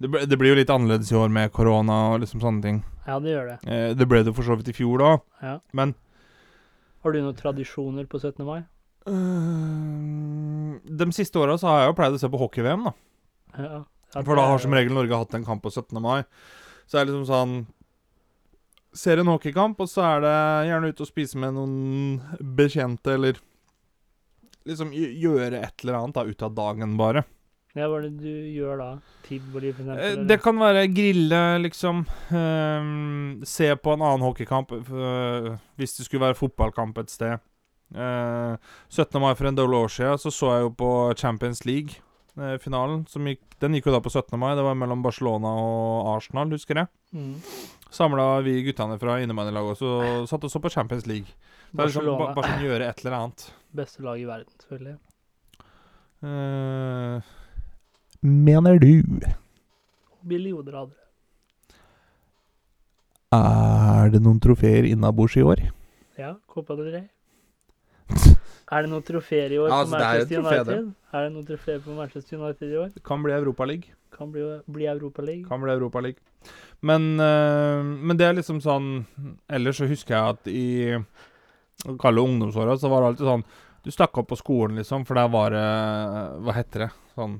S3: det, ble, det blir jo litt annerledes i år med korona og liksom sånne ting.
S1: ja, det gjør det.
S3: Eh, det ble det for så vidt i fjor da.
S1: Ja.
S3: Men
S1: Har du noen tradisjoner på 17. mai?
S3: øh, de siste åra så har jeg jo pleid å se på hockey-VM, da.
S1: Ja.
S3: For da har som regel Norge hatt en kamp på 17. mai. Så er det liksom sånn Ser en hockeykamp, og så er det gjerne ute og spise med noen bekjente, eller Liksom gj- gjøre et eller annet da, ut av dagen, bare.
S1: Ja, hva er det du gjør da? Tivoli, for eksempel?
S3: Eh,
S1: eller?
S3: Det kan være grille, liksom. ehm, se på en annen hockeykamp eh, hvis det skulle være fotballkamp et sted. Eh, 17. mai for en del år siden så, så jeg jo på Champions League-finalen. gikk, den gikk jo da på 17. mai. Det var mellom Barcelona og Arsenal, husker jeg.
S1: Mm.
S3: Samla vi guttene fra innebandylaget også og satt og så på Champions League. Det er liksom, ba,
S1: Barcelona.
S3: bare sånn gjøre et eller annet.
S1: Beste lag i verden, selvfølgelig.
S3: Eh, Mener du
S1: Billioner av dere.
S3: Er det noen trofeer innabords i år?
S1: Ja, Copa del Rey. Er det noen trofeer i år
S3: Ja,
S1: på
S3: altså, det er jo et
S1: Manchester
S3: trofé, det.
S1: United? Er det noen trofeer på Manchester United i år?
S3: Det kan bli Europaliga.
S1: Kan bli, bli Europa League.
S3: Kan bli Europaliga. Men, eh, men det er liksom sånn Ellers så husker jeg at i kalde ungdomsåra så var det alltid sånn Du stakk opp på skolen, liksom, for der var det Hva heter det? Sånn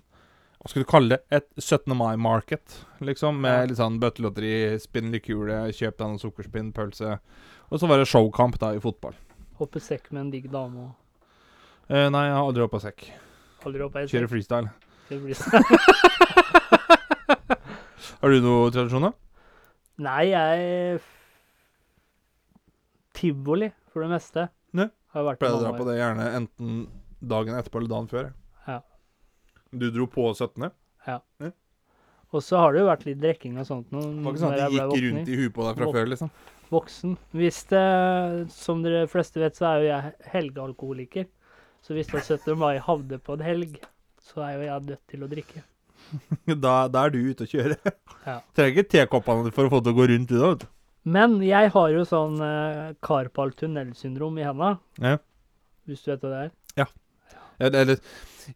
S3: Hva skal du kalle det? Et 17. mai-market, liksom. Med
S1: Ja.
S3: litt sånn bøttelotteri, spinn likule, kjøp deg noen sukkerspinn, pølse. Og så var det showkamp, da, i fotball.
S1: Hoppe sekk med en digg dame og
S3: Eh, nei, jeg har aldri hoppa sekk.
S1: holder opp ei
S3: Kjører freestyle.
S1: Det blir-
S3: Har du noen tradisjoner?
S1: Nei, jeg Tivoli, for det meste.
S3: Ja.
S1: Har jeg vært i
S3: Pleier å
S1: mange
S3: dra på
S1: år.
S3: det gjerne enten dagen etterpå eller dagen før.
S1: Ja. Mm,
S3: Du dro på 17.
S1: Og så har det jo vært litt drikking og sånt. Noen,
S3: Det var ikke sånn at de gikk rundt i huet på deg fra
S1: Våk-
S3: før, liksom.
S1: Voksen. Hvis det, som dere fleste vet, så er jo jeg helgealkoholiker. Så hvis da 17. mai havner på en helg, så er jo jeg nødt til å drikke.
S3: Da, da er du ute å kjøre.
S1: Ja.
S3: Trenger ikke tekoppene for å få det til å gå rundt, du da. vet du.
S1: Men jeg har jo sånn eh, karpal tunnelsyndrom i henda.
S3: Ja. Eller-
S1: Hvis du vet hva det er.
S3: Eller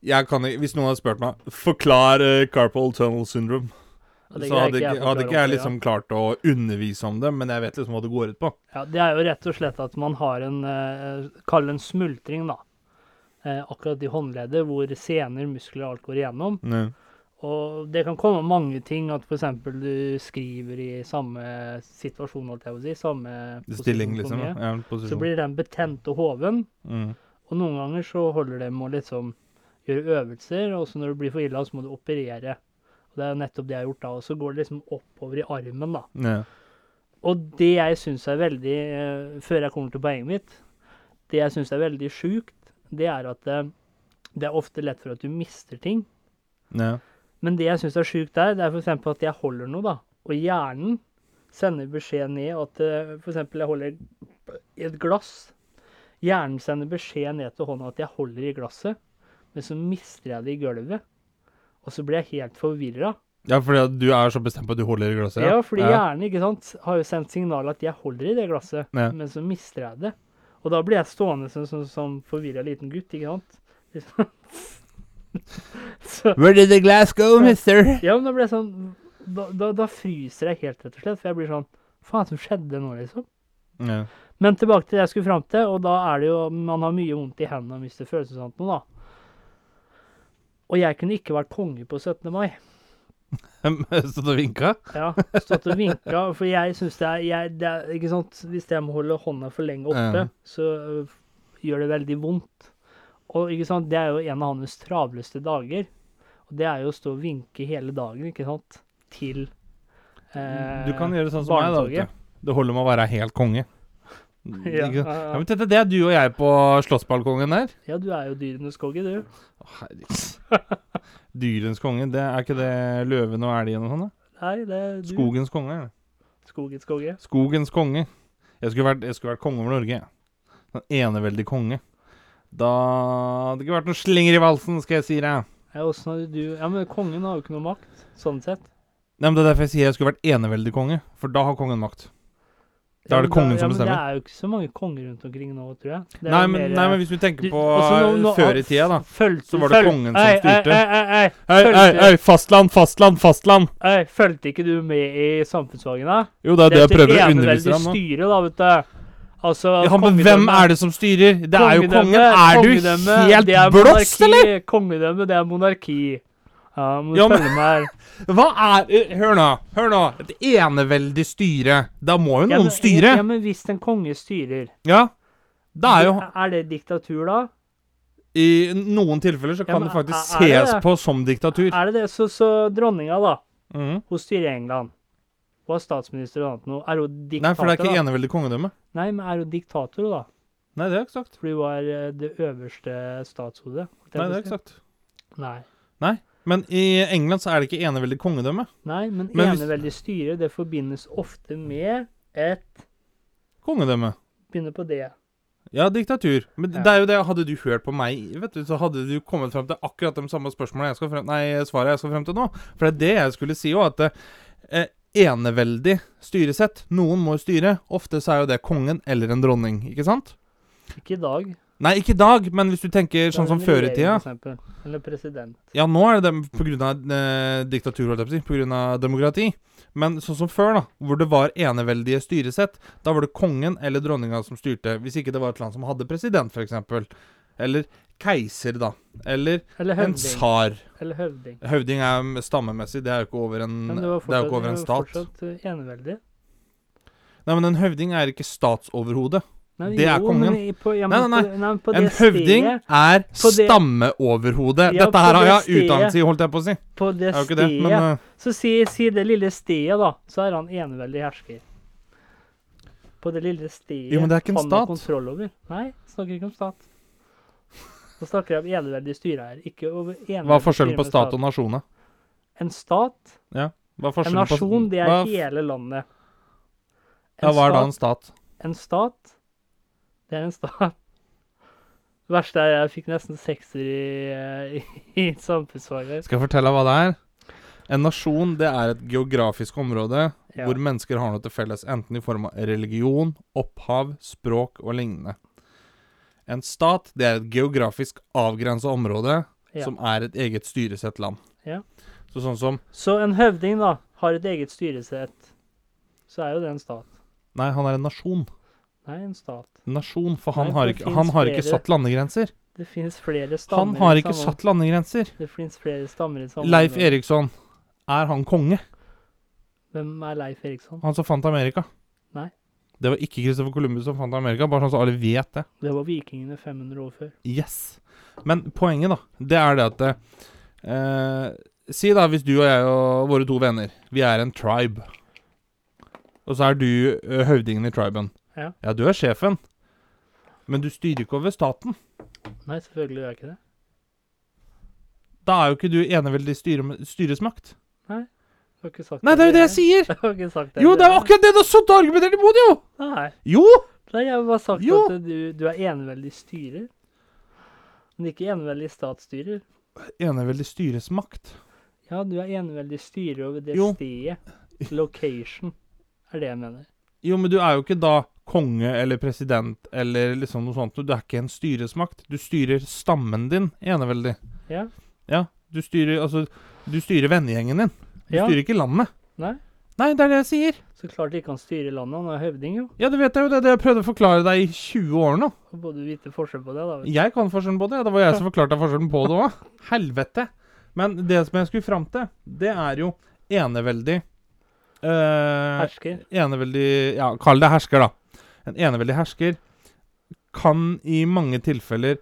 S3: jeg kan, ikke- hvis noen hadde spurt meg Forklar eh, carpal tunnel syndrome,
S1: Og
S3: så
S1: greier
S3: hadde ikke,
S1: jeg å forklare
S3: hadde ikke jeg
S1: ordentlig, ja.
S3: liksom klart å undervise om det, men jeg vet liksom hva det går ut på.
S1: Ja, det er jo rett og slett at man har en eh, Kall det en smultring, da. Eh, akkurat i håndleddet, hvor sener, muskler og alt går igjennom. Og det kan komme mange ting. At f.eks. du skriver i samme situasjon, holdt jeg på å si. Samme posisjon
S3: Stilling,
S1: for
S3: liksom.
S1: mye.
S3: Ja,
S1: Så
S3: posisjon.
S1: blir den betent og hoven.
S3: Mm.
S1: Og noen ganger så holder det med å liksom gjøre øvelser, og så når du blir for ille, så må du operere. Og det er jo nettopp det jeg har gjort da. Og så går det liksom oppover i armen, da.
S3: Ja.
S1: Og det jeg syns er veldig eh, Før jeg kommer til poenget mitt Det jeg syns er veldig sjukt, det er at eh, det er ofte lett for at du mister ting.
S3: Ja.
S1: Men det jeg syns er sjukt der, det er f.eks. at jeg holder noe, da. Og hjernen sender beskjed ned at eh, for eksempel jeg holder i et glass. Hjernen sender beskjed ned til hånda at jeg holder i glasset, men så mister jeg det i gulvet. Og så blir jeg helt forvirra.
S3: Ja, fordi at du er så bestemt på at du holder i glasset?
S1: Ja, fordi
S3: ja.
S1: hjernen ikke sant, har jo sendt signal at jeg holder i det glasset,
S3: Ja.
S1: men så mister jeg det. Og da blir jeg stående som, som, som forvirra liten gutt, ikke sant? Liksom. så,
S3: Where did the glass go, mister?
S1: ja, men da blir jeg sånn da, da, da fryser jeg helt, rett og slett. For jeg blir sånn Faen, som skjedde nå, liksom?
S3: Ja.
S1: Men tilbake til det jeg skulle fram til, og da er det jo Man har mye vondt i hendene og mister følelsen og sånt noe, sånn da. Og jeg kunne ikke vært konge på 17. mai.
S3: Stått og vinka?
S1: Ja, stått og vinka. For jeg syns det er, jeg, det er Ikke sant, hvis jeg må holde hånda for lenge oppe,
S3: Ja.
S1: så øh, gjør det veldig vondt. Og ikke sant, det er jo en av hans travleste dager. Og det er jo å stå og vinke hele dagen, ikke sant, til eh,
S3: Du kan gjøre sånn som meg, da.
S1: barnetoget.
S3: Vet du. Det holder med å være helt konge.
S1: Ja,
S3: Ikke-
S1: ja, ja.
S3: ja, men Tete, det er du og jeg på slottsbalkongen der.
S1: Ja, du er jo dyrenes konge, du.
S3: Å, herregud. Dyrens konge, det er ikke det løven og elgen og sånn? da?
S1: Nei, det er du.
S3: Skogens konge? er det.
S1: Skogens konge.
S3: Skogens konge. Jeg skulle vært, jeg skulle vært konge over Norge. jeg. Den eneveldige konge. Da hadde det ikke vært noen slinger i valsen, skal jeg si deg.
S1: Ja, åssen hadde du Ja, men kongen har jo ikke noe makt, sånn sett.
S3: Nei, men Det er derfor jeg sier jeg skulle vært eneveldig konge, for da har kongen makt. Da er det kongen som
S1: Ja, men
S3: bestemmer.
S1: det er jo ikke så mange konger rundt omkring nå, tror jeg. Det er
S3: Nei
S1: jo
S3: men,
S1: mer- eh,
S3: nei, men hvis vi tenker
S1: Du-
S3: på eh,
S1: altså, nå- nå-
S3: før i tida, da.
S1: følg-
S3: så var det
S1: følg-
S3: kongen som
S1: Ei,
S3: styrte.
S1: Ei, ei, ei,
S3: Hei,
S1: Følg-
S3: hei, hei, fastland, fastland, fastland!
S1: ei, ei, fulgte ikke du med i samfunnsfagen, da?
S3: Jo, det er det jeg prøver å
S1: deg
S3: undervise deg
S1: om
S3: om nå.
S1: Styret, da, vet du. Altså,
S3: Ja, men hvem er det som styrer? Det er jo kongen. Er du helt blåst, eller?
S1: Kongedømme, det er monarki. Ja, må du
S3: Ja, men-
S1: følge med her.
S3: Hva er eh, Hør nå. Hør nå. Et eneveldig styre. Da må jo
S1: Ja,
S3: noen
S1: men- Ja,
S3: styre.
S1: ja, men hvis en konge styrer,
S3: Ja. Da er jo
S1: er det diktatur da?
S3: I noen tilfeller så
S1: Ja,
S3: kan
S1: men
S3: det
S1: er-
S3: faktisk
S1: er det
S3: ses
S1: det?
S3: på som diktatur.
S1: Er det det? Så, så dronninga, da.
S3: Mhm.
S1: Hun styrer England. Hun er statsminister og annet noe. Er hun
S3: Nei,
S1: diktator,
S3: for det er ikke
S1: da?
S3: eneveldig kongedømme.
S1: Nei, men er hun diktator, da?
S3: Nei, det er ikke sagt.
S1: Fordi hun er eh, det øverste statshodet. holdt jeg
S3: Nei,
S1: på
S3: det
S1: å
S3: er
S1: si.
S3: ikke sagt.
S1: Nei.
S3: Men i England så er det ikke eneveldig kongedømme.
S1: Nei, men,
S3: Men hvis-
S1: eneveldig styre, det forbindes ofte med et
S3: Kongedømme.
S1: Begynner på det.
S3: Ja, diktatur. Men
S1: Ja.
S3: det er jo det, hadde du hørt på meg, vet du, så hadde du kommet frem til akkurat de samme spørsmålene jeg skal frem, nei, svaret jeg skal frem til nå. For det er det jeg skulle si òg, at eh, eneveldig styresett, noen må styre, ofte så er jo det kongen eller en dronning, ikke sant?
S1: Ikke i dag.
S3: Nei, ikke i dag, men hvis du tenker sånn som før i tida
S1: tida. Eller president.
S3: Ja, nå er det dem pga. Eh, diktatur, holdt jeg på å si, pga. demokrati. Men sånn som før, da, hvor det var eneveldige styresett, da var det kongen eller dronninga som styrte, hvis ikke det var et land som hadde president, f.eks. Eller keiser, da. Eller
S1: Eller
S3: en
S1: høvding.
S3: tsar.
S1: Eller høvding.
S3: Høvding er mm, stammemessig, det er jo ikke over en,
S1: Men
S3: det
S1: det var
S3: er jo
S1: fortsatt,
S3: ikke over en
S1: det var
S3: stat.
S1: fortsatt eh, eneveldig.
S3: Nei, men en høvding er ikke statsoverhode.
S1: Nei,
S3: Det er
S1: jo, men
S3: kongen.
S1: i- På, ja,
S3: Nei,
S1: men
S3: nei,
S1: på- nei, men på
S3: En
S1: det
S3: høvding
S1: stedet-
S3: er
S1: på det- Ja,
S3: stammeoverhode. Dette
S1: på
S3: her har
S1: det
S3: jeg utdannelse
S1: stedet-
S3: i, holdt jeg på å si.
S1: På det
S3: Det er jo ikke
S1: stedet
S3: det, men eh,
S1: Så si, si det lille stedet, da. Så er han eneveldig hersker. På det lille stedet
S3: Jo, men det er ikke en
S1: han har
S3: stat.
S1: kontroll over. Nei, snakker ikke om stat. Nå snakker jeg om eneveldig styreeier, ikke over eneveldig
S3: hva er forskjellen på
S1: styrende
S3: stat og nasjon, da?
S1: En stat,
S3: Hva er
S1: en
S3: forskjellen på-
S1: nasjon, det er
S3: hva-
S1: hele landet. En,
S3: Ja, hva er da en
S1: stat,
S3: stat?
S1: en stat, det er en stat. Det verste er jeg fikk nesten sekser i, eh, i, i samfunnsfaget.
S3: Skal jeg fortelle deg hva det er? En nasjon det er et geografisk område
S1: Ja.
S3: hvor mennesker har noe til felles, enten i form av religion, opphav, språk og lignende. En stat det er et geografisk avgrensa område
S1: Ja.
S3: som er et eget styresett land.
S1: Ja.
S3: Så sånn som
S1: Så en høvding, da, har et eget styresett. Så er jo det en stat.
S3: Nei, han er en nasjon.
S1: Nei, en stat.
S3: Nasjon, for han,
S1: Nei,
S3: har,
S1: det
S3: ikke,
S1: finnes
S3: han har ikke
S1: flere.
S3: satt landegrenser.
S1: Det finnes flere
S3: Han
S1: stammer
S3: har
S1: i
S3: ikke
S1: samme-
S3: satt landegrenser.
S1: Det finnes flere stammer i samme
S3: Leif
S1: område.
S3: Eriksson, er han konge?
S1: Hvem er Leif Eriksson?
S3: Han som fant Amerika?
S1: Nei.
S3: Det var ikke Christopher Columbus som fant Amerika, bare sånn så alle vet det.
S1: Det var vikingene 500 år før.
S3: Yes. Men poenget, da, det er det at eh, Si da hvis du og jeg og våre to venner, vi er en tribe. Og så er du eh, høvdingen i triben.
S1: Ja.
S3: ja, du er sjefen. Men du styrer ikke over staten.
S1: Nei, selvfølgelig gjør jeg ikke det.
S3: Da er jo ikke du eneveldig styre, styresmakt.
S1: Du har ikke sagt
S3: Nei, det er jo det jeg sier!
S1: Jeg har ikke sagt det.
S3: Jo, det er jo akkurat det du har sittet og argumentert imot, jo!
S1: Nei,
S3: Jo!
S1: Nei, jeg har bare sagt
S3: Jo.
S1: at du, du er eneveldig styrer. Men ikke eneveldig statsstyrer.
S3: Eneveldig styresmakt.
S1: Ja, du er eneveldig styre over det
S3: Jo.
S1: stedet. Location er det jeg mener.
S3: Jo, men du er jo ikke da konge eller president eller liksom noe sånt. Du er ikke en styresmakt. Du styrer stammen din eneveldig.
S1: Ja.
S3: Ja, du styrer altså Du styrer vennegjengen din. Du
S1: Ja.
S3: styrer ikke landet.
S1: Nei.
S3: Nei, det er det jeg sier.
S1: Så klart ikke han styrer landet, han er høvding, jo.
S3: Ja, du vet jeg jo det. Det har jeg prøvde å forklare deg i 20 år nå.
S1: Så Både vite forskjell på det, da. vet du.
S3: Jeg kan forskjellen på det. ja. Det var jeg som forklarte deg forskjellen på det òg. Helvete. Men det som jeg skulle fram til, det er jo eneveldig eh,
S1: Hersker.
S3: eneveldig Ja, kall det hersker, da. En eneveldig hersker kan i mange tilfeller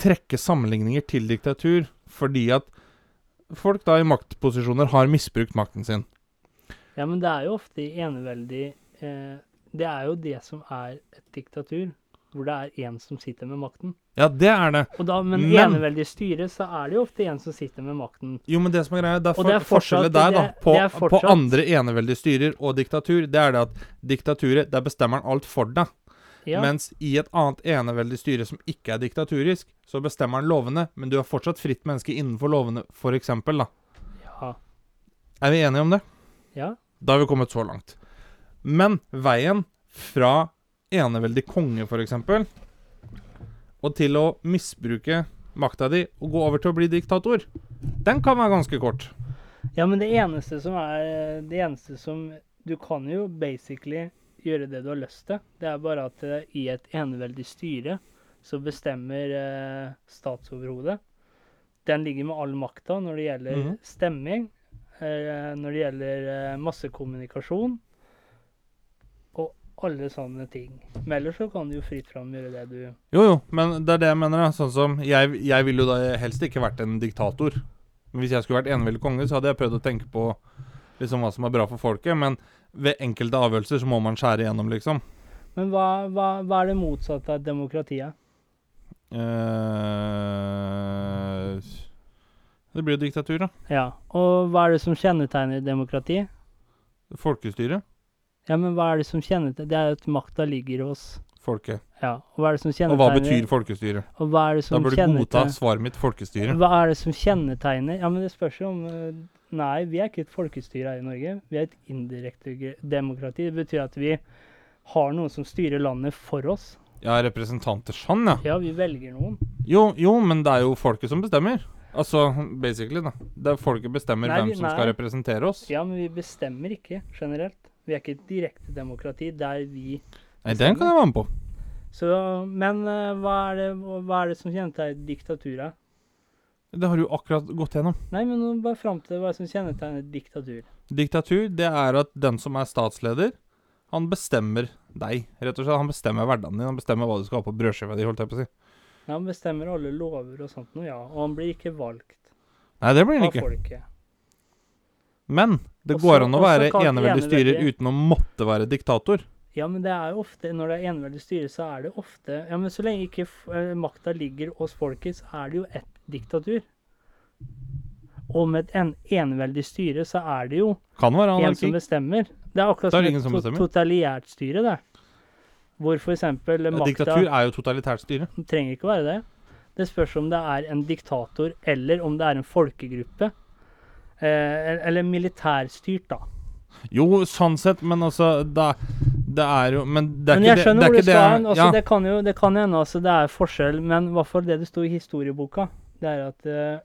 S3: trekke sammenligninger til diktatur fordi at folk da i maktposisjoner har misbrukt makten sin.
S1: Ja, men det er jo ofte i eneveldig eh, Det er jo det som er et diktatur, hvor det er én som sitter med makten.
S3: Ja, det er det.
S1: Og da, men i
S3: Men-
S1: eneveldig styre så er det jo ofte en som sitter med makten.
S3: Jo, men det som er greia, det
S1: Og
S3: er, for,
S1: det er fortsatt-
S3: forskjellet der, da,
S1: det-
S3: på,
S1: det er
S3: på
S1: fortsatt-
S3: andre eneveldige styrer og diktatur, det er det at diktaturet, der bestemmer han alt for deg.
S1: Ja,
S3: Mens i et annet eneveldig styre som ikke er diktaturisk, så bestemmer han lovene, men du er fortsatt fritt menneske innenfor lovene, for eksempel, da.
S1: ja,
S3: Er vi enige om det?
S1: ja.
S3: Da har vi kommet så langt. Men veien fra eneveldig konge, for eksempel, og til å misbruke makta di og gå over til å bli diktator, den kan være ganske kort.
S1: Ja, men det eneste som er Det eneste som Du kan jo basically gjøre det du har lyst til. Det er bare at eh, i et eneveldig styre så bestemmer eh, statsoverhodet. Den ligger med all makta når det gjelder
S3: Mhm.
S1: stemming, eh, når det gjelder eh, massekommunikasjon og alle sånne ting. Men ellers så kan du jo fritt fram gjøre det du
S3: Jo, jo, men det er det jeg mener. da. Sånn som Jeg, jeg ville jo da helst ikke vært en diktator. Men Hvis jeg skulle vært eneveldig konge, så hadde jeg prøvd å tenke på liksom hva som er bra for folket. Men ved enkelte avgjørelser så må man skjære igjennom, liksom.
S1: Men hva, hva, hva er det motsatte av demokratiet?
S3: Eh, det blir jo diktatur, da.
S1: Ja. Og hva er det som kjennetegner demokrati?
S3: Folkestyre.
S1: Ja, men hva er det som kjennetegner Det er jo at makta ligger hos
S3: Folket.
S1: Ja, og hva er det som
S3: Og
S1: kjennetegner
S3: hva betyr folkestyre?
S1: Og hva er det
S3: Da
S1: som
S3: bør du godta
S1: kjennetegner
S3: svaret mitt folkestyre.
S1: Hva er det som kjennetegner Ja, men det spørs jo om eh, Nei, vi er ikke et folkestyre her i Norge. Vi er et indirekte ge- demokrati. Det betyr at vi har noen som styrer landet for oss.
S3: Ja, representanter. Sånn, ja.
S1: Ja, vi velger noen.
S3: Jo, jo, men det er jo folket som bestemmer. Altså basically, da. Det er folket bestemmer
S1: Nei,
S3: hvem
S1: vi-
S3: som
S1: nei.
S3: skal representere oss.
S1: Ja, men vi bestemmer ikke generelt. Vi er ikke et direkte demokrati der vi
S3: Nei, den kan jeg være med på.
S1: Så Men eh, hva er det, hva er det som kjennetegner diktaturet?
S3: Det har du akkurat gått gjennom.
S1: Nei, men nå bare fram til hva som kjennetegner diktatur.
S3: Diktatur, det er at den som er statsleder, han bestemmer deg, rett og slett. Han bestemmer hverdagen din, han bestemmer hva du skal ha på brødskiva di, holdt jeg på å si.
S1: Ja, Han bestemmer alle lover og sånt noe, ja. Og han blir ikke valgt
S3: Nei, det blir
S1: av
S3: han ikke.
S1: folket.
S3: Men det
S1: Også-
S3: går an å
S1: også
S3: være
S1: kalt
S3: eneveldig styrer
S1: eneveldig.
S3: uten å måtte være diktator.
S1: Ja, men det er jo ofte, når det er eneveldig styre, så er det ofte Ja, men så lenge ikke f- eh, makta ligger hos folket, så er det jo et diktatur. Og med et en eneveldig styre, så er det jo
S3: Kan være
S1: en som
S3: anarki.
S1: bestemmer. Det er akkurat
S3: Da er
S1: som
S3: det
S1: et
S3: ingen som
S1: to-
S3: bestemmer.
S1: totaliært styre, det. Hvor for eksempel makta
S3: Diktatur er jo totalitært styre.
S1: Det trenger ikke være det. Det spørs om det er en diktator, eller om det er en folkegruppe. Eh, eller militærstyrt, da.
S3: Jo, sånn sett, men altså Det, det er jo Men det er
S1: Men
S3: ikke
S1: jeg
S3: det- det
S1: skjønner
S3: er
S1: hvor du
S3: ikke
S1: skal hen. Altså,
S3: ja.
S1: Det kan jo det kan hende altså, det er forskjell, men i hvert fall det det sto i historieboka, det er at eh,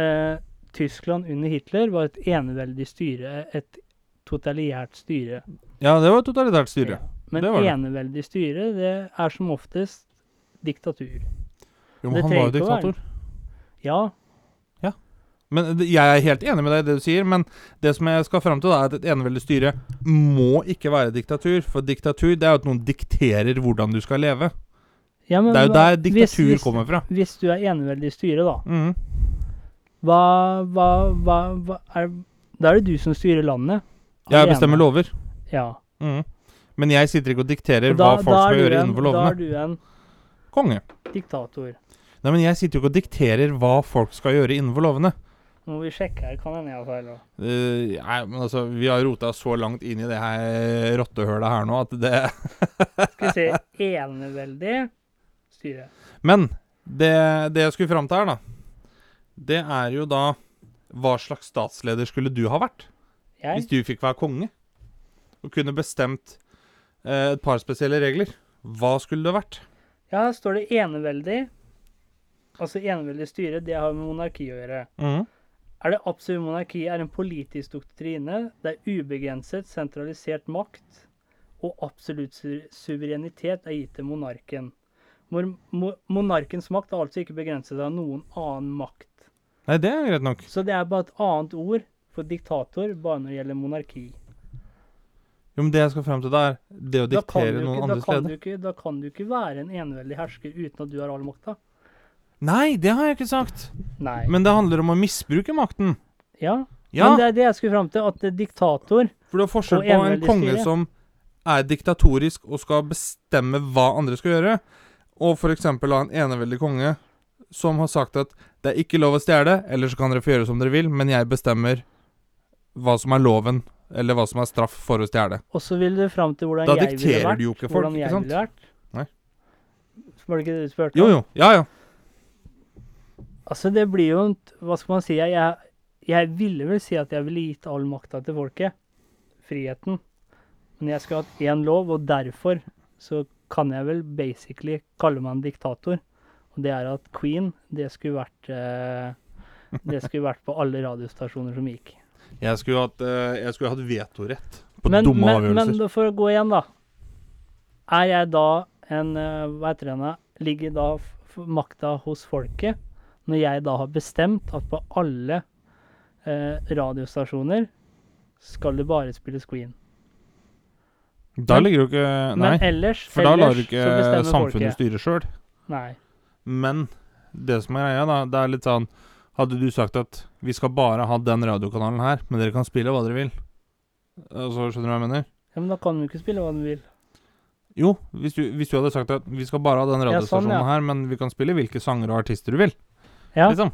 S1: eh, Tyskland under Hitler var et eneveldig styre, et totaliært styre.
S3: ja, det var totalitært styre.
S1: Men
S3: Det var det.
S1: eneveldig styre, det er som oftest diktatur.
S3: Jo,
S1: Det
S3: men han var jo
S1: trenger ikke å være-
S3: diktator.
S1: Ja,
S3: Men det- jeg er helt enig med deg i det du sier, men det som jeg skal fram til, da, er at et eneveldig styre må ikke være diktatur. For diktatur det er jo at noen dikterer hvordan du skal leve.
S1: ja men
S3: Det er
S1: hva-
S3: jo der diktatur
S1: hvis, hvis,
S3: kommer fra.
S1: Hvis du er eneveldig styre, da.
S3: Mhm.
S1: Hva, hva, hva, hva er, Da er det du som styrer landet.
S3: Jeg
S1: Alene.
S3: bestemmer lover.
S1: Ja.
S3: Mhm. Men jeg sitter ikke og dikterer
S1: Og da,
S3: hva folk
S1: da,
S3: skal
S1: er du
S3: gjøre
S1: en,
S3: innenfor
S1: da
S3: lovene.
S1: er du en
S3: Konge.
S1: diktator.
S3: Nei, men jeg sitter jo ikke og dikterer hva folk skal gjøre innenfor lovene.
S1: Nå må vi sjekke her, kan hende jeg har feil. også.
S3: Eh, nei, men altså, vi har rota så langt inn i det her rottehølet her nå at det
S1: Skal vi se Eneveldig styre.
S3: Men det, det jeg skulle fram til her, da, det er jo da Hva slags statsleder skulle du ha vært
S1: Jeg?
S3: hvis du fikk være konge? Og kunne bestemt eh, et par spesielle regler. Hva skulle det vært?
S1: Ja, her står det eneveldig. Altså eneveldig styre, det har med monarki å gjøre. Er det absolutt monarki er en politisk doktrine der ubegrenset, sentralisert makt og absolutt su suverenitet er gitt til monarken. Mor mo monarkens makt er altså ikke begrenset av noen annen makt.
S3: Nei, det er greit nok.
S1: Så det er bare et annet ord for diktator bare når det gjelder monarki.
S3: Jo, men det jeg skal frem til, da er det å
S1: Da kan, du
S3: diktere
S1: ikke,
S3: noen
S1: da,
S3: andres
S1: kan du
S3: leder.
S1: ikke, da kan du ikke være en eneveldig hersker uten at du har all makta.
S3: Nei, det har jeg ikke sagt.
S1: Nei.
S3: Men det handler om å misbruke makten.
S1: ja.
S3: Ja,
S1: Men det er det jeg skulle fram til, at eh, diktator
S3: for du har
S1: og
S3: forskjell på en
S1: eneveldig
S3: konge
S1: styre.
S3: som er diktatorisk og skal bestemme hva andre skal gjøre, og for eksempel ha en eneveldig konge som har sagt at det er ikke lov å stjele, ellers kan dere få gjøre som dere vil, men jeg bestemmer hva som er loven, eller hva som er straff for å stjele.
S1: Og så vil du fram til hvordan
S3: Da
S1: jeg ville
S3: dikterer
S1: vært.
S3: du jo ikke folk,
S1: hvordan
S3: ikke
S1: jeg
S3: sant?
S1: ville vært.
S3: Nei.
S1: Var det ikke det du spurte
S3: Jo,
S1: om?
S3: jo. Ja, ja.
S1: Altså, det blir jo en t- Hva skal man si? Jeg, jeg, jeg ville vel si at jeg ville gitt all makta til folket. Friheten. Men jeg skulle hatt én lov, og derfor så kan jeg vel basically kalle meg en diktator. Og det er at Queen, det skulle vært eh, Det skulle vært på alle radiostasjoner som gikk.
S3: Jeg skulle hatt, eh, jeg skulle hatt vetorett på
S1: men,
S3: dumme
S1: men,
S3: avgjørelser.
S1: Men for å gå igjen, da. Er jeg da en eh, Hva heter det? nå? Ligger da f- f- makta hos folket? Når jeg da har bestemt at på alle eh, radiostasjoner skal det bare spilles Queen.
S3: Da ligger du ikke Nei,
S1: Men ellers,
S3: for da lar
S1: ellers
S3: du ikke eh,
S1: så bestemmer
S3: samfunnet
S1: folket.
S3: styre sjøl.
S1: Nei.
S3: Men det som er greia, da, det er litt sånn Hadde du sagt at vi skal bare ha den radiokanalen her, men dere kan spille hva dere vil Altså, Skjønner du hva jeg mener?
S1: Ja, men da kan du ikke spille hva du vil.
S3: Jo, hvis du, hvis du hadde sagt at vi skal bare ha
S1: Ja,
S3: den
S1: sånn,
S3: radiostasjonen
S1: ja.
S3: her, men vi kan spille hvilke sanger og artister du vil.
S1: Ja,
S3: Liksom.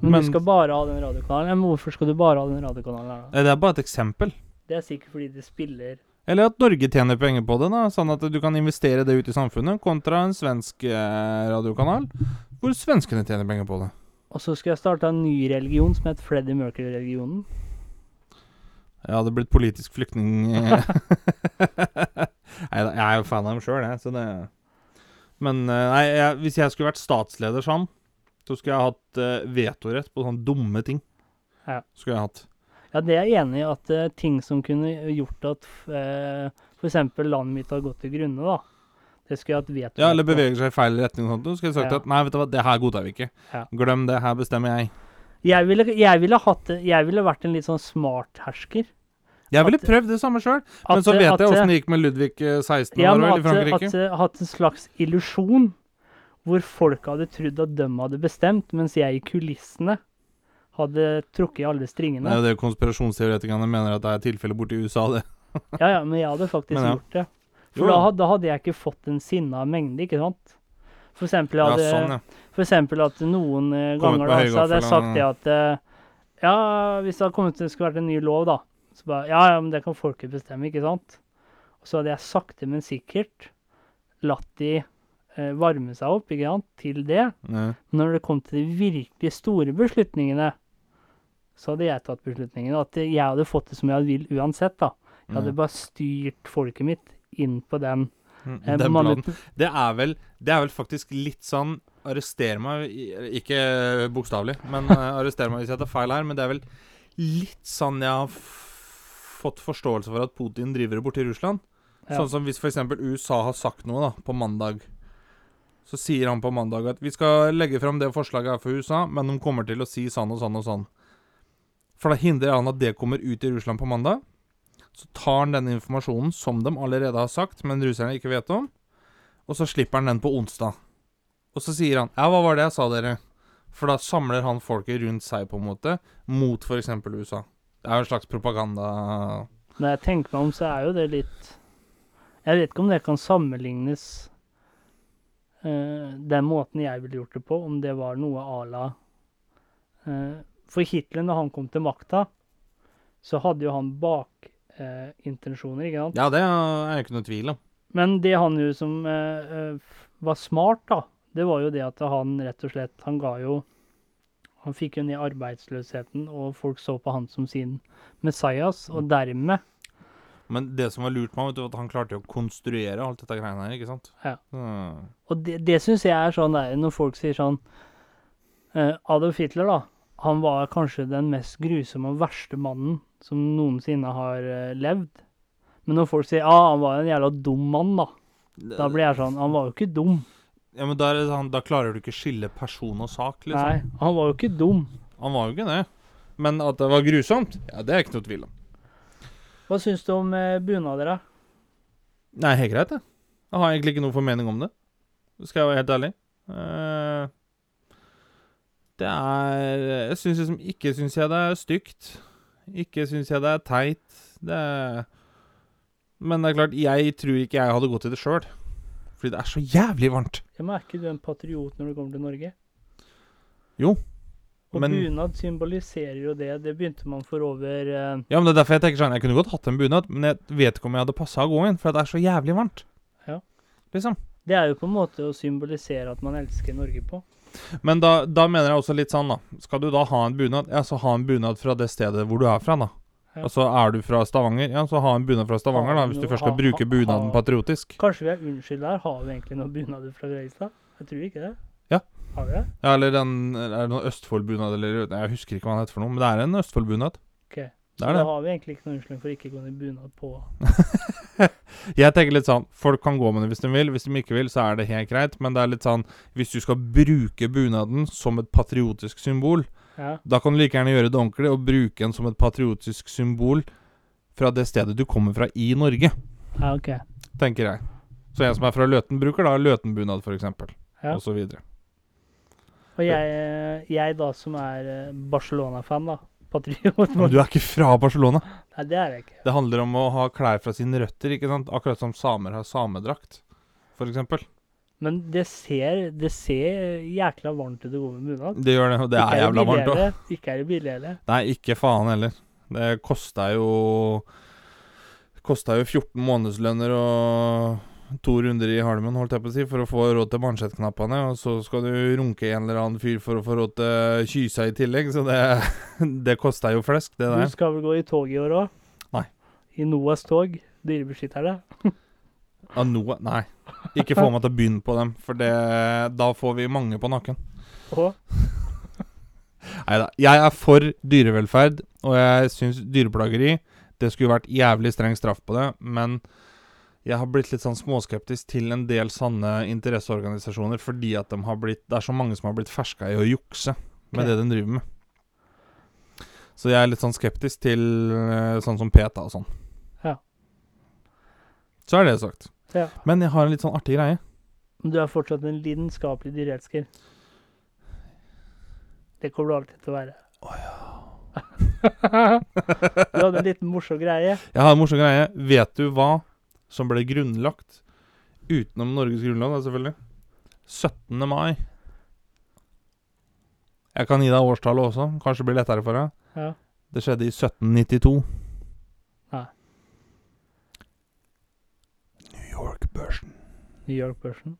S1: men,
S3: men-
S1: du skal bare ha den radiokanalen. Ja, Men hvorfor skal du bare ha den radiokanalen? her da?
S3: Eh, Det er bare et eksempel.
S1: Det er sikkert fordi de spiller
S3: Eller at Norge tjener penger på det, da, sånn at du kan investere det ut i samfunnet, kontra en svensk eh, radiokanal, hvor svenskene tjener penger på det.
S1: Og så skal jeg starte en ny religion som heter Freddie Mercury-religionen.
S3: Jeg hadde blitt politisk flyktning Nei, jeg er jo fan av dem sjøl, jeg, så det Men eh, nei, jeg, hvis jeg skulle vært statsleder sånn, så skulle jeg hatt eh, vetorett på sånne dumme ting.
S1: Ja.
S3: Skulle jeg hatt.
S1: Ja, det er jeg enig i. At eh, ting som kunne gjort at uh, f.eks. landet mitt har gått til grunne, da. Det skulle jeg hatt vetorett
S3: Ja, eller
S1: på.
S3: beveger seg i feil retning og sånt. Så skulle jeg sagt
S1: Ja.
S3: at nei, vet du hva, det her godtar vi ikke.
S1: Ja.
S3: Glem det, her bestemmer jeg.
S1: Jeg ville, jeg, ville hatt, jeg ville vært en litt sånn smart hersker.
S3: Jeg ville
S1: At-
S3: prøvd det samme sjøl,
S1: At-
S3: men så vet
S1: at-
S3: jeg åssen det gikk med Ludvig eh, 16
S1: ja,
S3: var det
S1: men
S3: vel, i
S1: at,
S3: Frankrike.
S1: at, eh, hatt en slags illusjon hvor folk hadde trodd at de hadde bestemt, mens jeg i kulissene hadde trukket i alle
S3: Det er
S1: stringene.
S3: jo det konspirasjonsteoretikerne mener at det er tilfellet borti USA, det.
S1: Ja, ja, men jeg hadde faktisk
S3: Men ja.
S1: gjort det.
S3: Jo,
S1: For da,
S3: ja.
S1: had- da hadde jeg ikke fått en sinna mengde, ikke sant? For eksempel, jeg
S3: Ja,
S1: hadde,
S3: sånn, ja.
S1: For eksempel at noen eh,
S3: Kommet
S1: ganger
S3: med
S1: da, så hadde jeg
S3: høygaffel,
S1: sagt det at eh, Ja, hvis det hadde kommet til det skulle vært en ny lov, da. Så bare Ja, ja, men det kan folket bestemme, ikke sant? Og så hadde jeg sakte, men sikkert latt de eh, varme seg opp, ikke sant, til det.
S3: Ja.
S1: Men når det kom til de virkelig store beslutningene, så hadde jeg tatt beslutningen. At jeg hadde fått det som jeg vil uansett, da. Jeg hadde
S3: Mm.
S1: bare styrt folket mitt inn på den,
S3: Mm,
S1: eh,
S3: Den planen.
S1: manipu-
S3: Det er vel, det er vel faktisk litt sånn Arrester meg, i- ikke bokstavelig, men eh, arrester meg hvis jeg tar feil her, men det er vel litt sånn jeg har f fått forståelse for at Putin driver det borti Russland.
S1: Ja.
S3: Sånn som hvis f.eks. USA har sagt noe da, på mandag. Så sier han på mandag at vi skal legge fram det forslaget her for USA, men de kommer til å si sånn og sånn og sånn. For da hindrer han at det kommer ut i Russland på mandag. Så tar han denne informasjonen som de allerede har sagt, men russerne ikke vet om, og så slipper han den på onsdag. Og så sier han 'Ja, hva var det jeg sa, dere?' For da samler han folket rundt seg, på en måte, mot f.eks. USA. Det er jo en slags propaganda
S1: Når jeg tenker meg om, så er jo det litt Jeg vet ikke om det kan sammenlignes eh, den måten jeg ville gjort det på, om det var noe à la eh, For Hitler, når han kom til makta, så hadde jo han bakintensjoner, ikke sant?
S3: Ja, det er jo ikke noe tvil om.
S1: Men det han jo som eh, eh, var smart, da, det var jo det at han rett og slett Han ga jo Han fikk jo ned arbeidsløsheten, og folk så på han som sin Messias. Og dermed
S3: Men det som var lurt med ham, vet du, var at han klarte jo å konstruere alt dette greiene her, ikke sant?
S1: Ja.
S3: Mm.
S1: Og det, det syns jeg er sånn der, når folk sier sånn eh, Adolf Hitler, da. Han var kanskje den mest grusomme og verste mannen som noensinne har eh, levd. Men når folk sier ja, ah, han var en jævla dum mann, da. Da blir jeg sånn Han var jo ikke dum.
S3: Ja, men da, er det sånn, da klarer du ikke skille person og sak,
S1: Nei,
S3: liksom.
S1: han var jo ikke dum.
S3: Han var jo ikke det. Men at det var grusomt, ja, det er ikke noe tvil om.
S1: Hva syns du om eh, bunader, da?
S3: Nei, helt greit, det. Jeg har egentlig ikke noe formening om det. Skal jeg være helt ærlig. Eh, det er Jeg syns liksom Ikke syns jeg det er stygt. Ikke syns jeg det er teit. Det er Men det er klart, jeg tror ikke jeg hadde gått i det sjøl. Fordi det er så jævlig varmt.
S1: Jeg merker du er en patriot når du kommer til Norge.
S3: Jo,
S1: Og
S3: men-
S1: bunad symboliserer jo det. Det begynte man for over eh,
S3: Ja, men det er derfor jeg tenker sånn Jeg kunne godt hatt en bunad, men jeg vet ikke om jeg hadde passa å gå inn, for det er så jævlig varmt.
S1: Ja.
S3: Liksom.
S1: Det er jo på en måte å symbolisere at man elsker Norge på.
S3: Men da, da mener jeg også litt sånn, da. Skal du da ha en bunad, ja, så ha en bunad fra det stedet hvor du er fra, da.
S1: Ja.
S3: Altså, er du fra Stavanger, ja, så ha en bunad fra Stavanger, da, hvis du
S1: noe-
S3: først skal
S1: ha-
S3: bruke
S1: ha-
S3: bunaden
S1: ha-
S3: patriotisk.
S1: Kanskje vi er unnskylda her. Har vi egentlig noen bunader fra Greistad? Jeg tror ikke det.
S3: Ja.
S1: Har vi det?
S3: Ja, eller den Er det noen Østfoldbunad, eller nei, Jeg husker ikke hva den heter for noe, men det er en Østfoldbunad.
S1: Ok.
S3: Det er det.
S1: Da har vi egentlig ikke noen unnskyldning for ikke å gå i bunad på
S3: Jeg tenker litt sånn Folk kan gå med det hvis de vil. Hvis de ikke vil, så er det helt greit, men det er litt sånn Hvis du skal bruke bunaden som et patriotisk symbol,
S1: Ja.
S3: Da kan du like gjerne gjøre det ordentlig og bruke den som et patriotisk symbol fra det stedet du kommer fra i Norge,
S1: ja, OK.
S3: tenker jeg. Så en som er fra Løten, bruker da Løtenbunad, for eksempel,
S1: Ja.
S3: og så videre.
S1: Og jeg, jeg da som er eh, Barcelona-fan, da. Patriot.
S3: Men du er ikke fra Barcelona.
S1: Nei, det er jeg ikke.
S3: Det handler om å ha klær fra sine røtter, ikke sant? Akkurat som samer har samedrakt, for eksempel.
S1: Men det ser, det ser jækla varmt ut å gå med bunad.
S3: Det gjør det, og det
S1: Ikke
S3: er jævla varmt òg.
S1: billigere- Ikke er det billig heller.
S3: Nei, ikke faen heller. Det kosta jo Kosta jo 14 månedslønner og to runder i halmen, holdt jeg på å si, for å få råd til mansjettknappene. Og så skal du runke en eller annen fyr for å få råd til kysa i tillegg, så det, det kosta jo flesk, det
S1: Du
S3: der.
S1: skal vel gå i tog i år òg?
S3: Nei.
S1: I NOAs tog? Dyrebeskyttere?
S3: Ja, noe Nei. Ikke få meg til å begynne på dem, for det, da får vi mange på nakken.
S1: Og
S3: Nei da. Jeg er for dyrevelferd, og jeg syns dyreplageri Det skulle vært jævlig streng straff på det, men jeg har blitt litt sånn småskeptisk til en del sanne interesseorganisasjoner fordi at de har blitt, det er så mange som har blitt ferska i å jukse med
S1: Ok.
S3: det de driver med. Så jeg er litt sånn skeptisk til eh, sånn som PETA og sånn.
S1: Ja.
S3: Så er det sagt.
S1: Ja.
S3: Men jeg har en litt sånn artig greie.
S1: Men du er fortsatt en lidenskapelig dyreelsker. Det kommer du alltid til å være. du hadde en liten morsom greie.
S3: Jeg har en morsom greie. Vet du hva som ble grunnlagt utenom Norges grunnlov, da, selvfølgelig? 17. mai. Jeg kan gi deg årstallet også. Kanskje det blir lettere for deg.
S1: Ja.
S3: Det skjedde i 1792.
S1: Nei.
S3: New York-børsen.
S1: New York Person.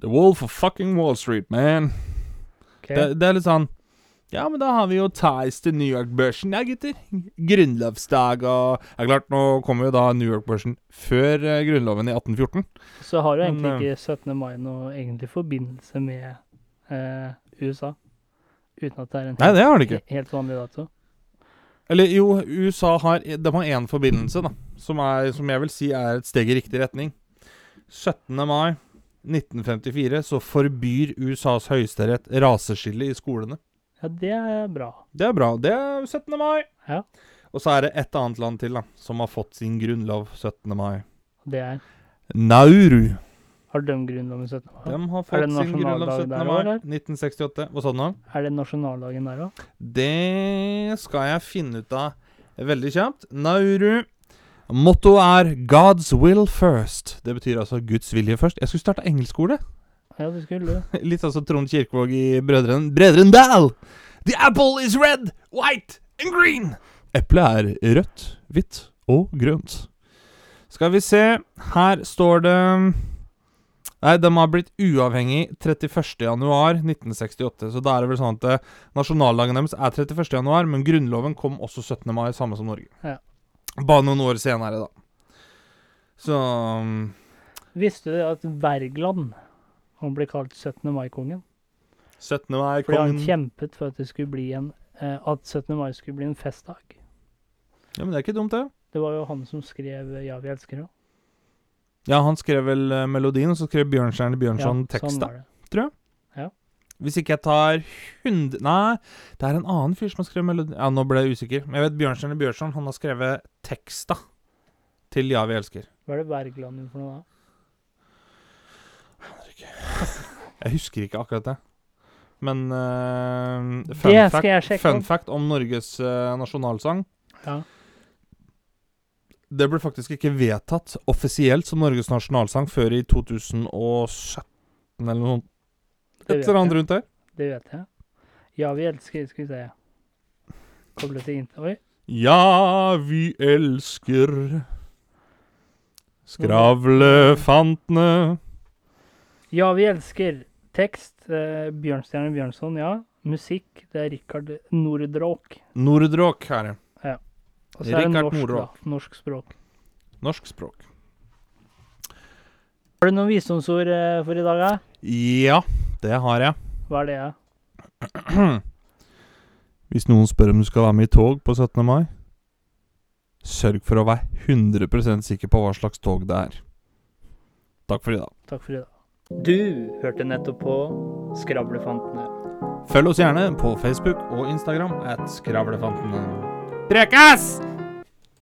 S3: The Wolf of fucking Wall Street, man.
S1: Ok.
S3: Det, det er litt sånn Ja, men da har vi jo ties til New York-børsen, ja, gutter. Grunnlovsdag og Ja, klart, nå kommer jo da New York-børsen før eh, grunnloven i 1814.
S1: Så har jo egentlig
S3: Men, eh,
S1: ikke 17. mai noe egentlig forbindelse med eh, USA. Uten at det er en
S3: Nei,
S1: helt,
S3: det har de ikke.
S1: helt vanlig dato.
S3: Eller jo, USA har De har én forbindelse, da, som, er, som jeg vil si er et steg i riktig retning. 17. mai 1954 så forbyr USAs høyesterett raseskille i skolene.
S1: Ja, det er bra.
S3: Det er bra. Det er 17. mai.
S1: Ja.
S3: Og så er det ett annet land til, da, som har fått sin grunnlov 17. mai.
S1: Det er
S3: Nauru.
S1: Har de grunnloven 17. mai?
S3: De har
S1: Er det
S3: fått sin grunnlov
S1: nasjonaldag
S3: 17.
S1: der
S3: mai
S1: også, eller?
S3: 1968. Hva sa du nå?
S1: Er det nasjonaldagen der òg?
S3: Det skal jeg finne ut av veldig kjapt. Nauru. Motto er 'God's will first'. Det betyr altså Guds vilje først. Jeg skulle starte engelskskole.
S1: Ja, det skulle du.
S3: Litt sånn som Trond Kirkevåg i Brødrene Brødrene Dal! The apple is red, white and green! Eplet er rødt, hvitt og grønt. Skal vi se Her står det Nei, de har blitt uavhengig 31.1.1968. Så da er det vel sånn at eh, nasjonaldagen deres er 31.1., men grunnloven kom også 17. mai, samme som Norge.
S1: Ja.
S3: Bare noen år senere, da. Så mm,
S1: Visste du at Wergeland han ble kalt 17. mai-kongen?
S3: 17. mai
S1: Fordi han
S3: kongen ja,
S1: kjempet for at det skulle bli en eh, At 17. mai skulle bli en festdag.
S3: Men det er ikke dumt, det.
S1: Det var jo han som skrev eh, 'Ja, vi elsker deg'.
S3: Ja, han skrev vel eh, melodien, og så skrev Bjørnstjerne Bjørnson sånn tekst,
S1: sånn var
S3: da.
S1: det.
S3: Hvis ikke jeg tar 100 Nei, det er en annen fyr som har skrevet melodi... Ja, nå ble jeg usikker. Men jeg vet Bjørnstjerne Bjørnson, han har skrevet teksta til Ja, vi elsker.
S1: Hva er det Wergeland gjorde for noe da?
S3: Jeg husker ikke akkurat det. Men eh,
S1: Det
S3: fun,
S1: skal jeg
S3: fact,
S1: sjekke
S3: fun
S1: opp.
S3: fact om Norges eh, nasjonalsang
S1: Ja.
S3: Det ble faktisk ikke vedtatt offisielt som Norges nasjonalsang før i 2017 eller noe sånt.
S1: Det
S3: Et
S1: vet
S3: eller annet
S1: jeg.
S3: rundt der.
S1: Det vet jeg. 'Ja, vi elsker' Skal vi se. Koble til int... Oi.
S3: Ja, vi elsker skravlefantene
S1: 'Ja, vi elsker'. Tekst eh, Bjørnstjerne Bjørnson, ja. Musikk det er Rikard Nordråk.
S3: Nordråk her. er
S1: Og så er det
S3: Rikard
S1: norsk, da.
S3: Nordråk.
S1: Norsk språk.
S3: Norsk språk.
S1: Har du noen visdomsord eh, for i dag, da?
S3: Ja, det har jeg.
S1: Hva er det? ja?
S3: Hvis noen spør om du skal være med i tog på 17. mai, sørg for å være 100 sikker på hva slags tog det er. Takk for i dag.
S1: Takk for i dag. Du hørte nettopp på Skravlefantene.
S3: Følg oss gjerne på Facebook og Instagram at Skravlefantene. Prekas!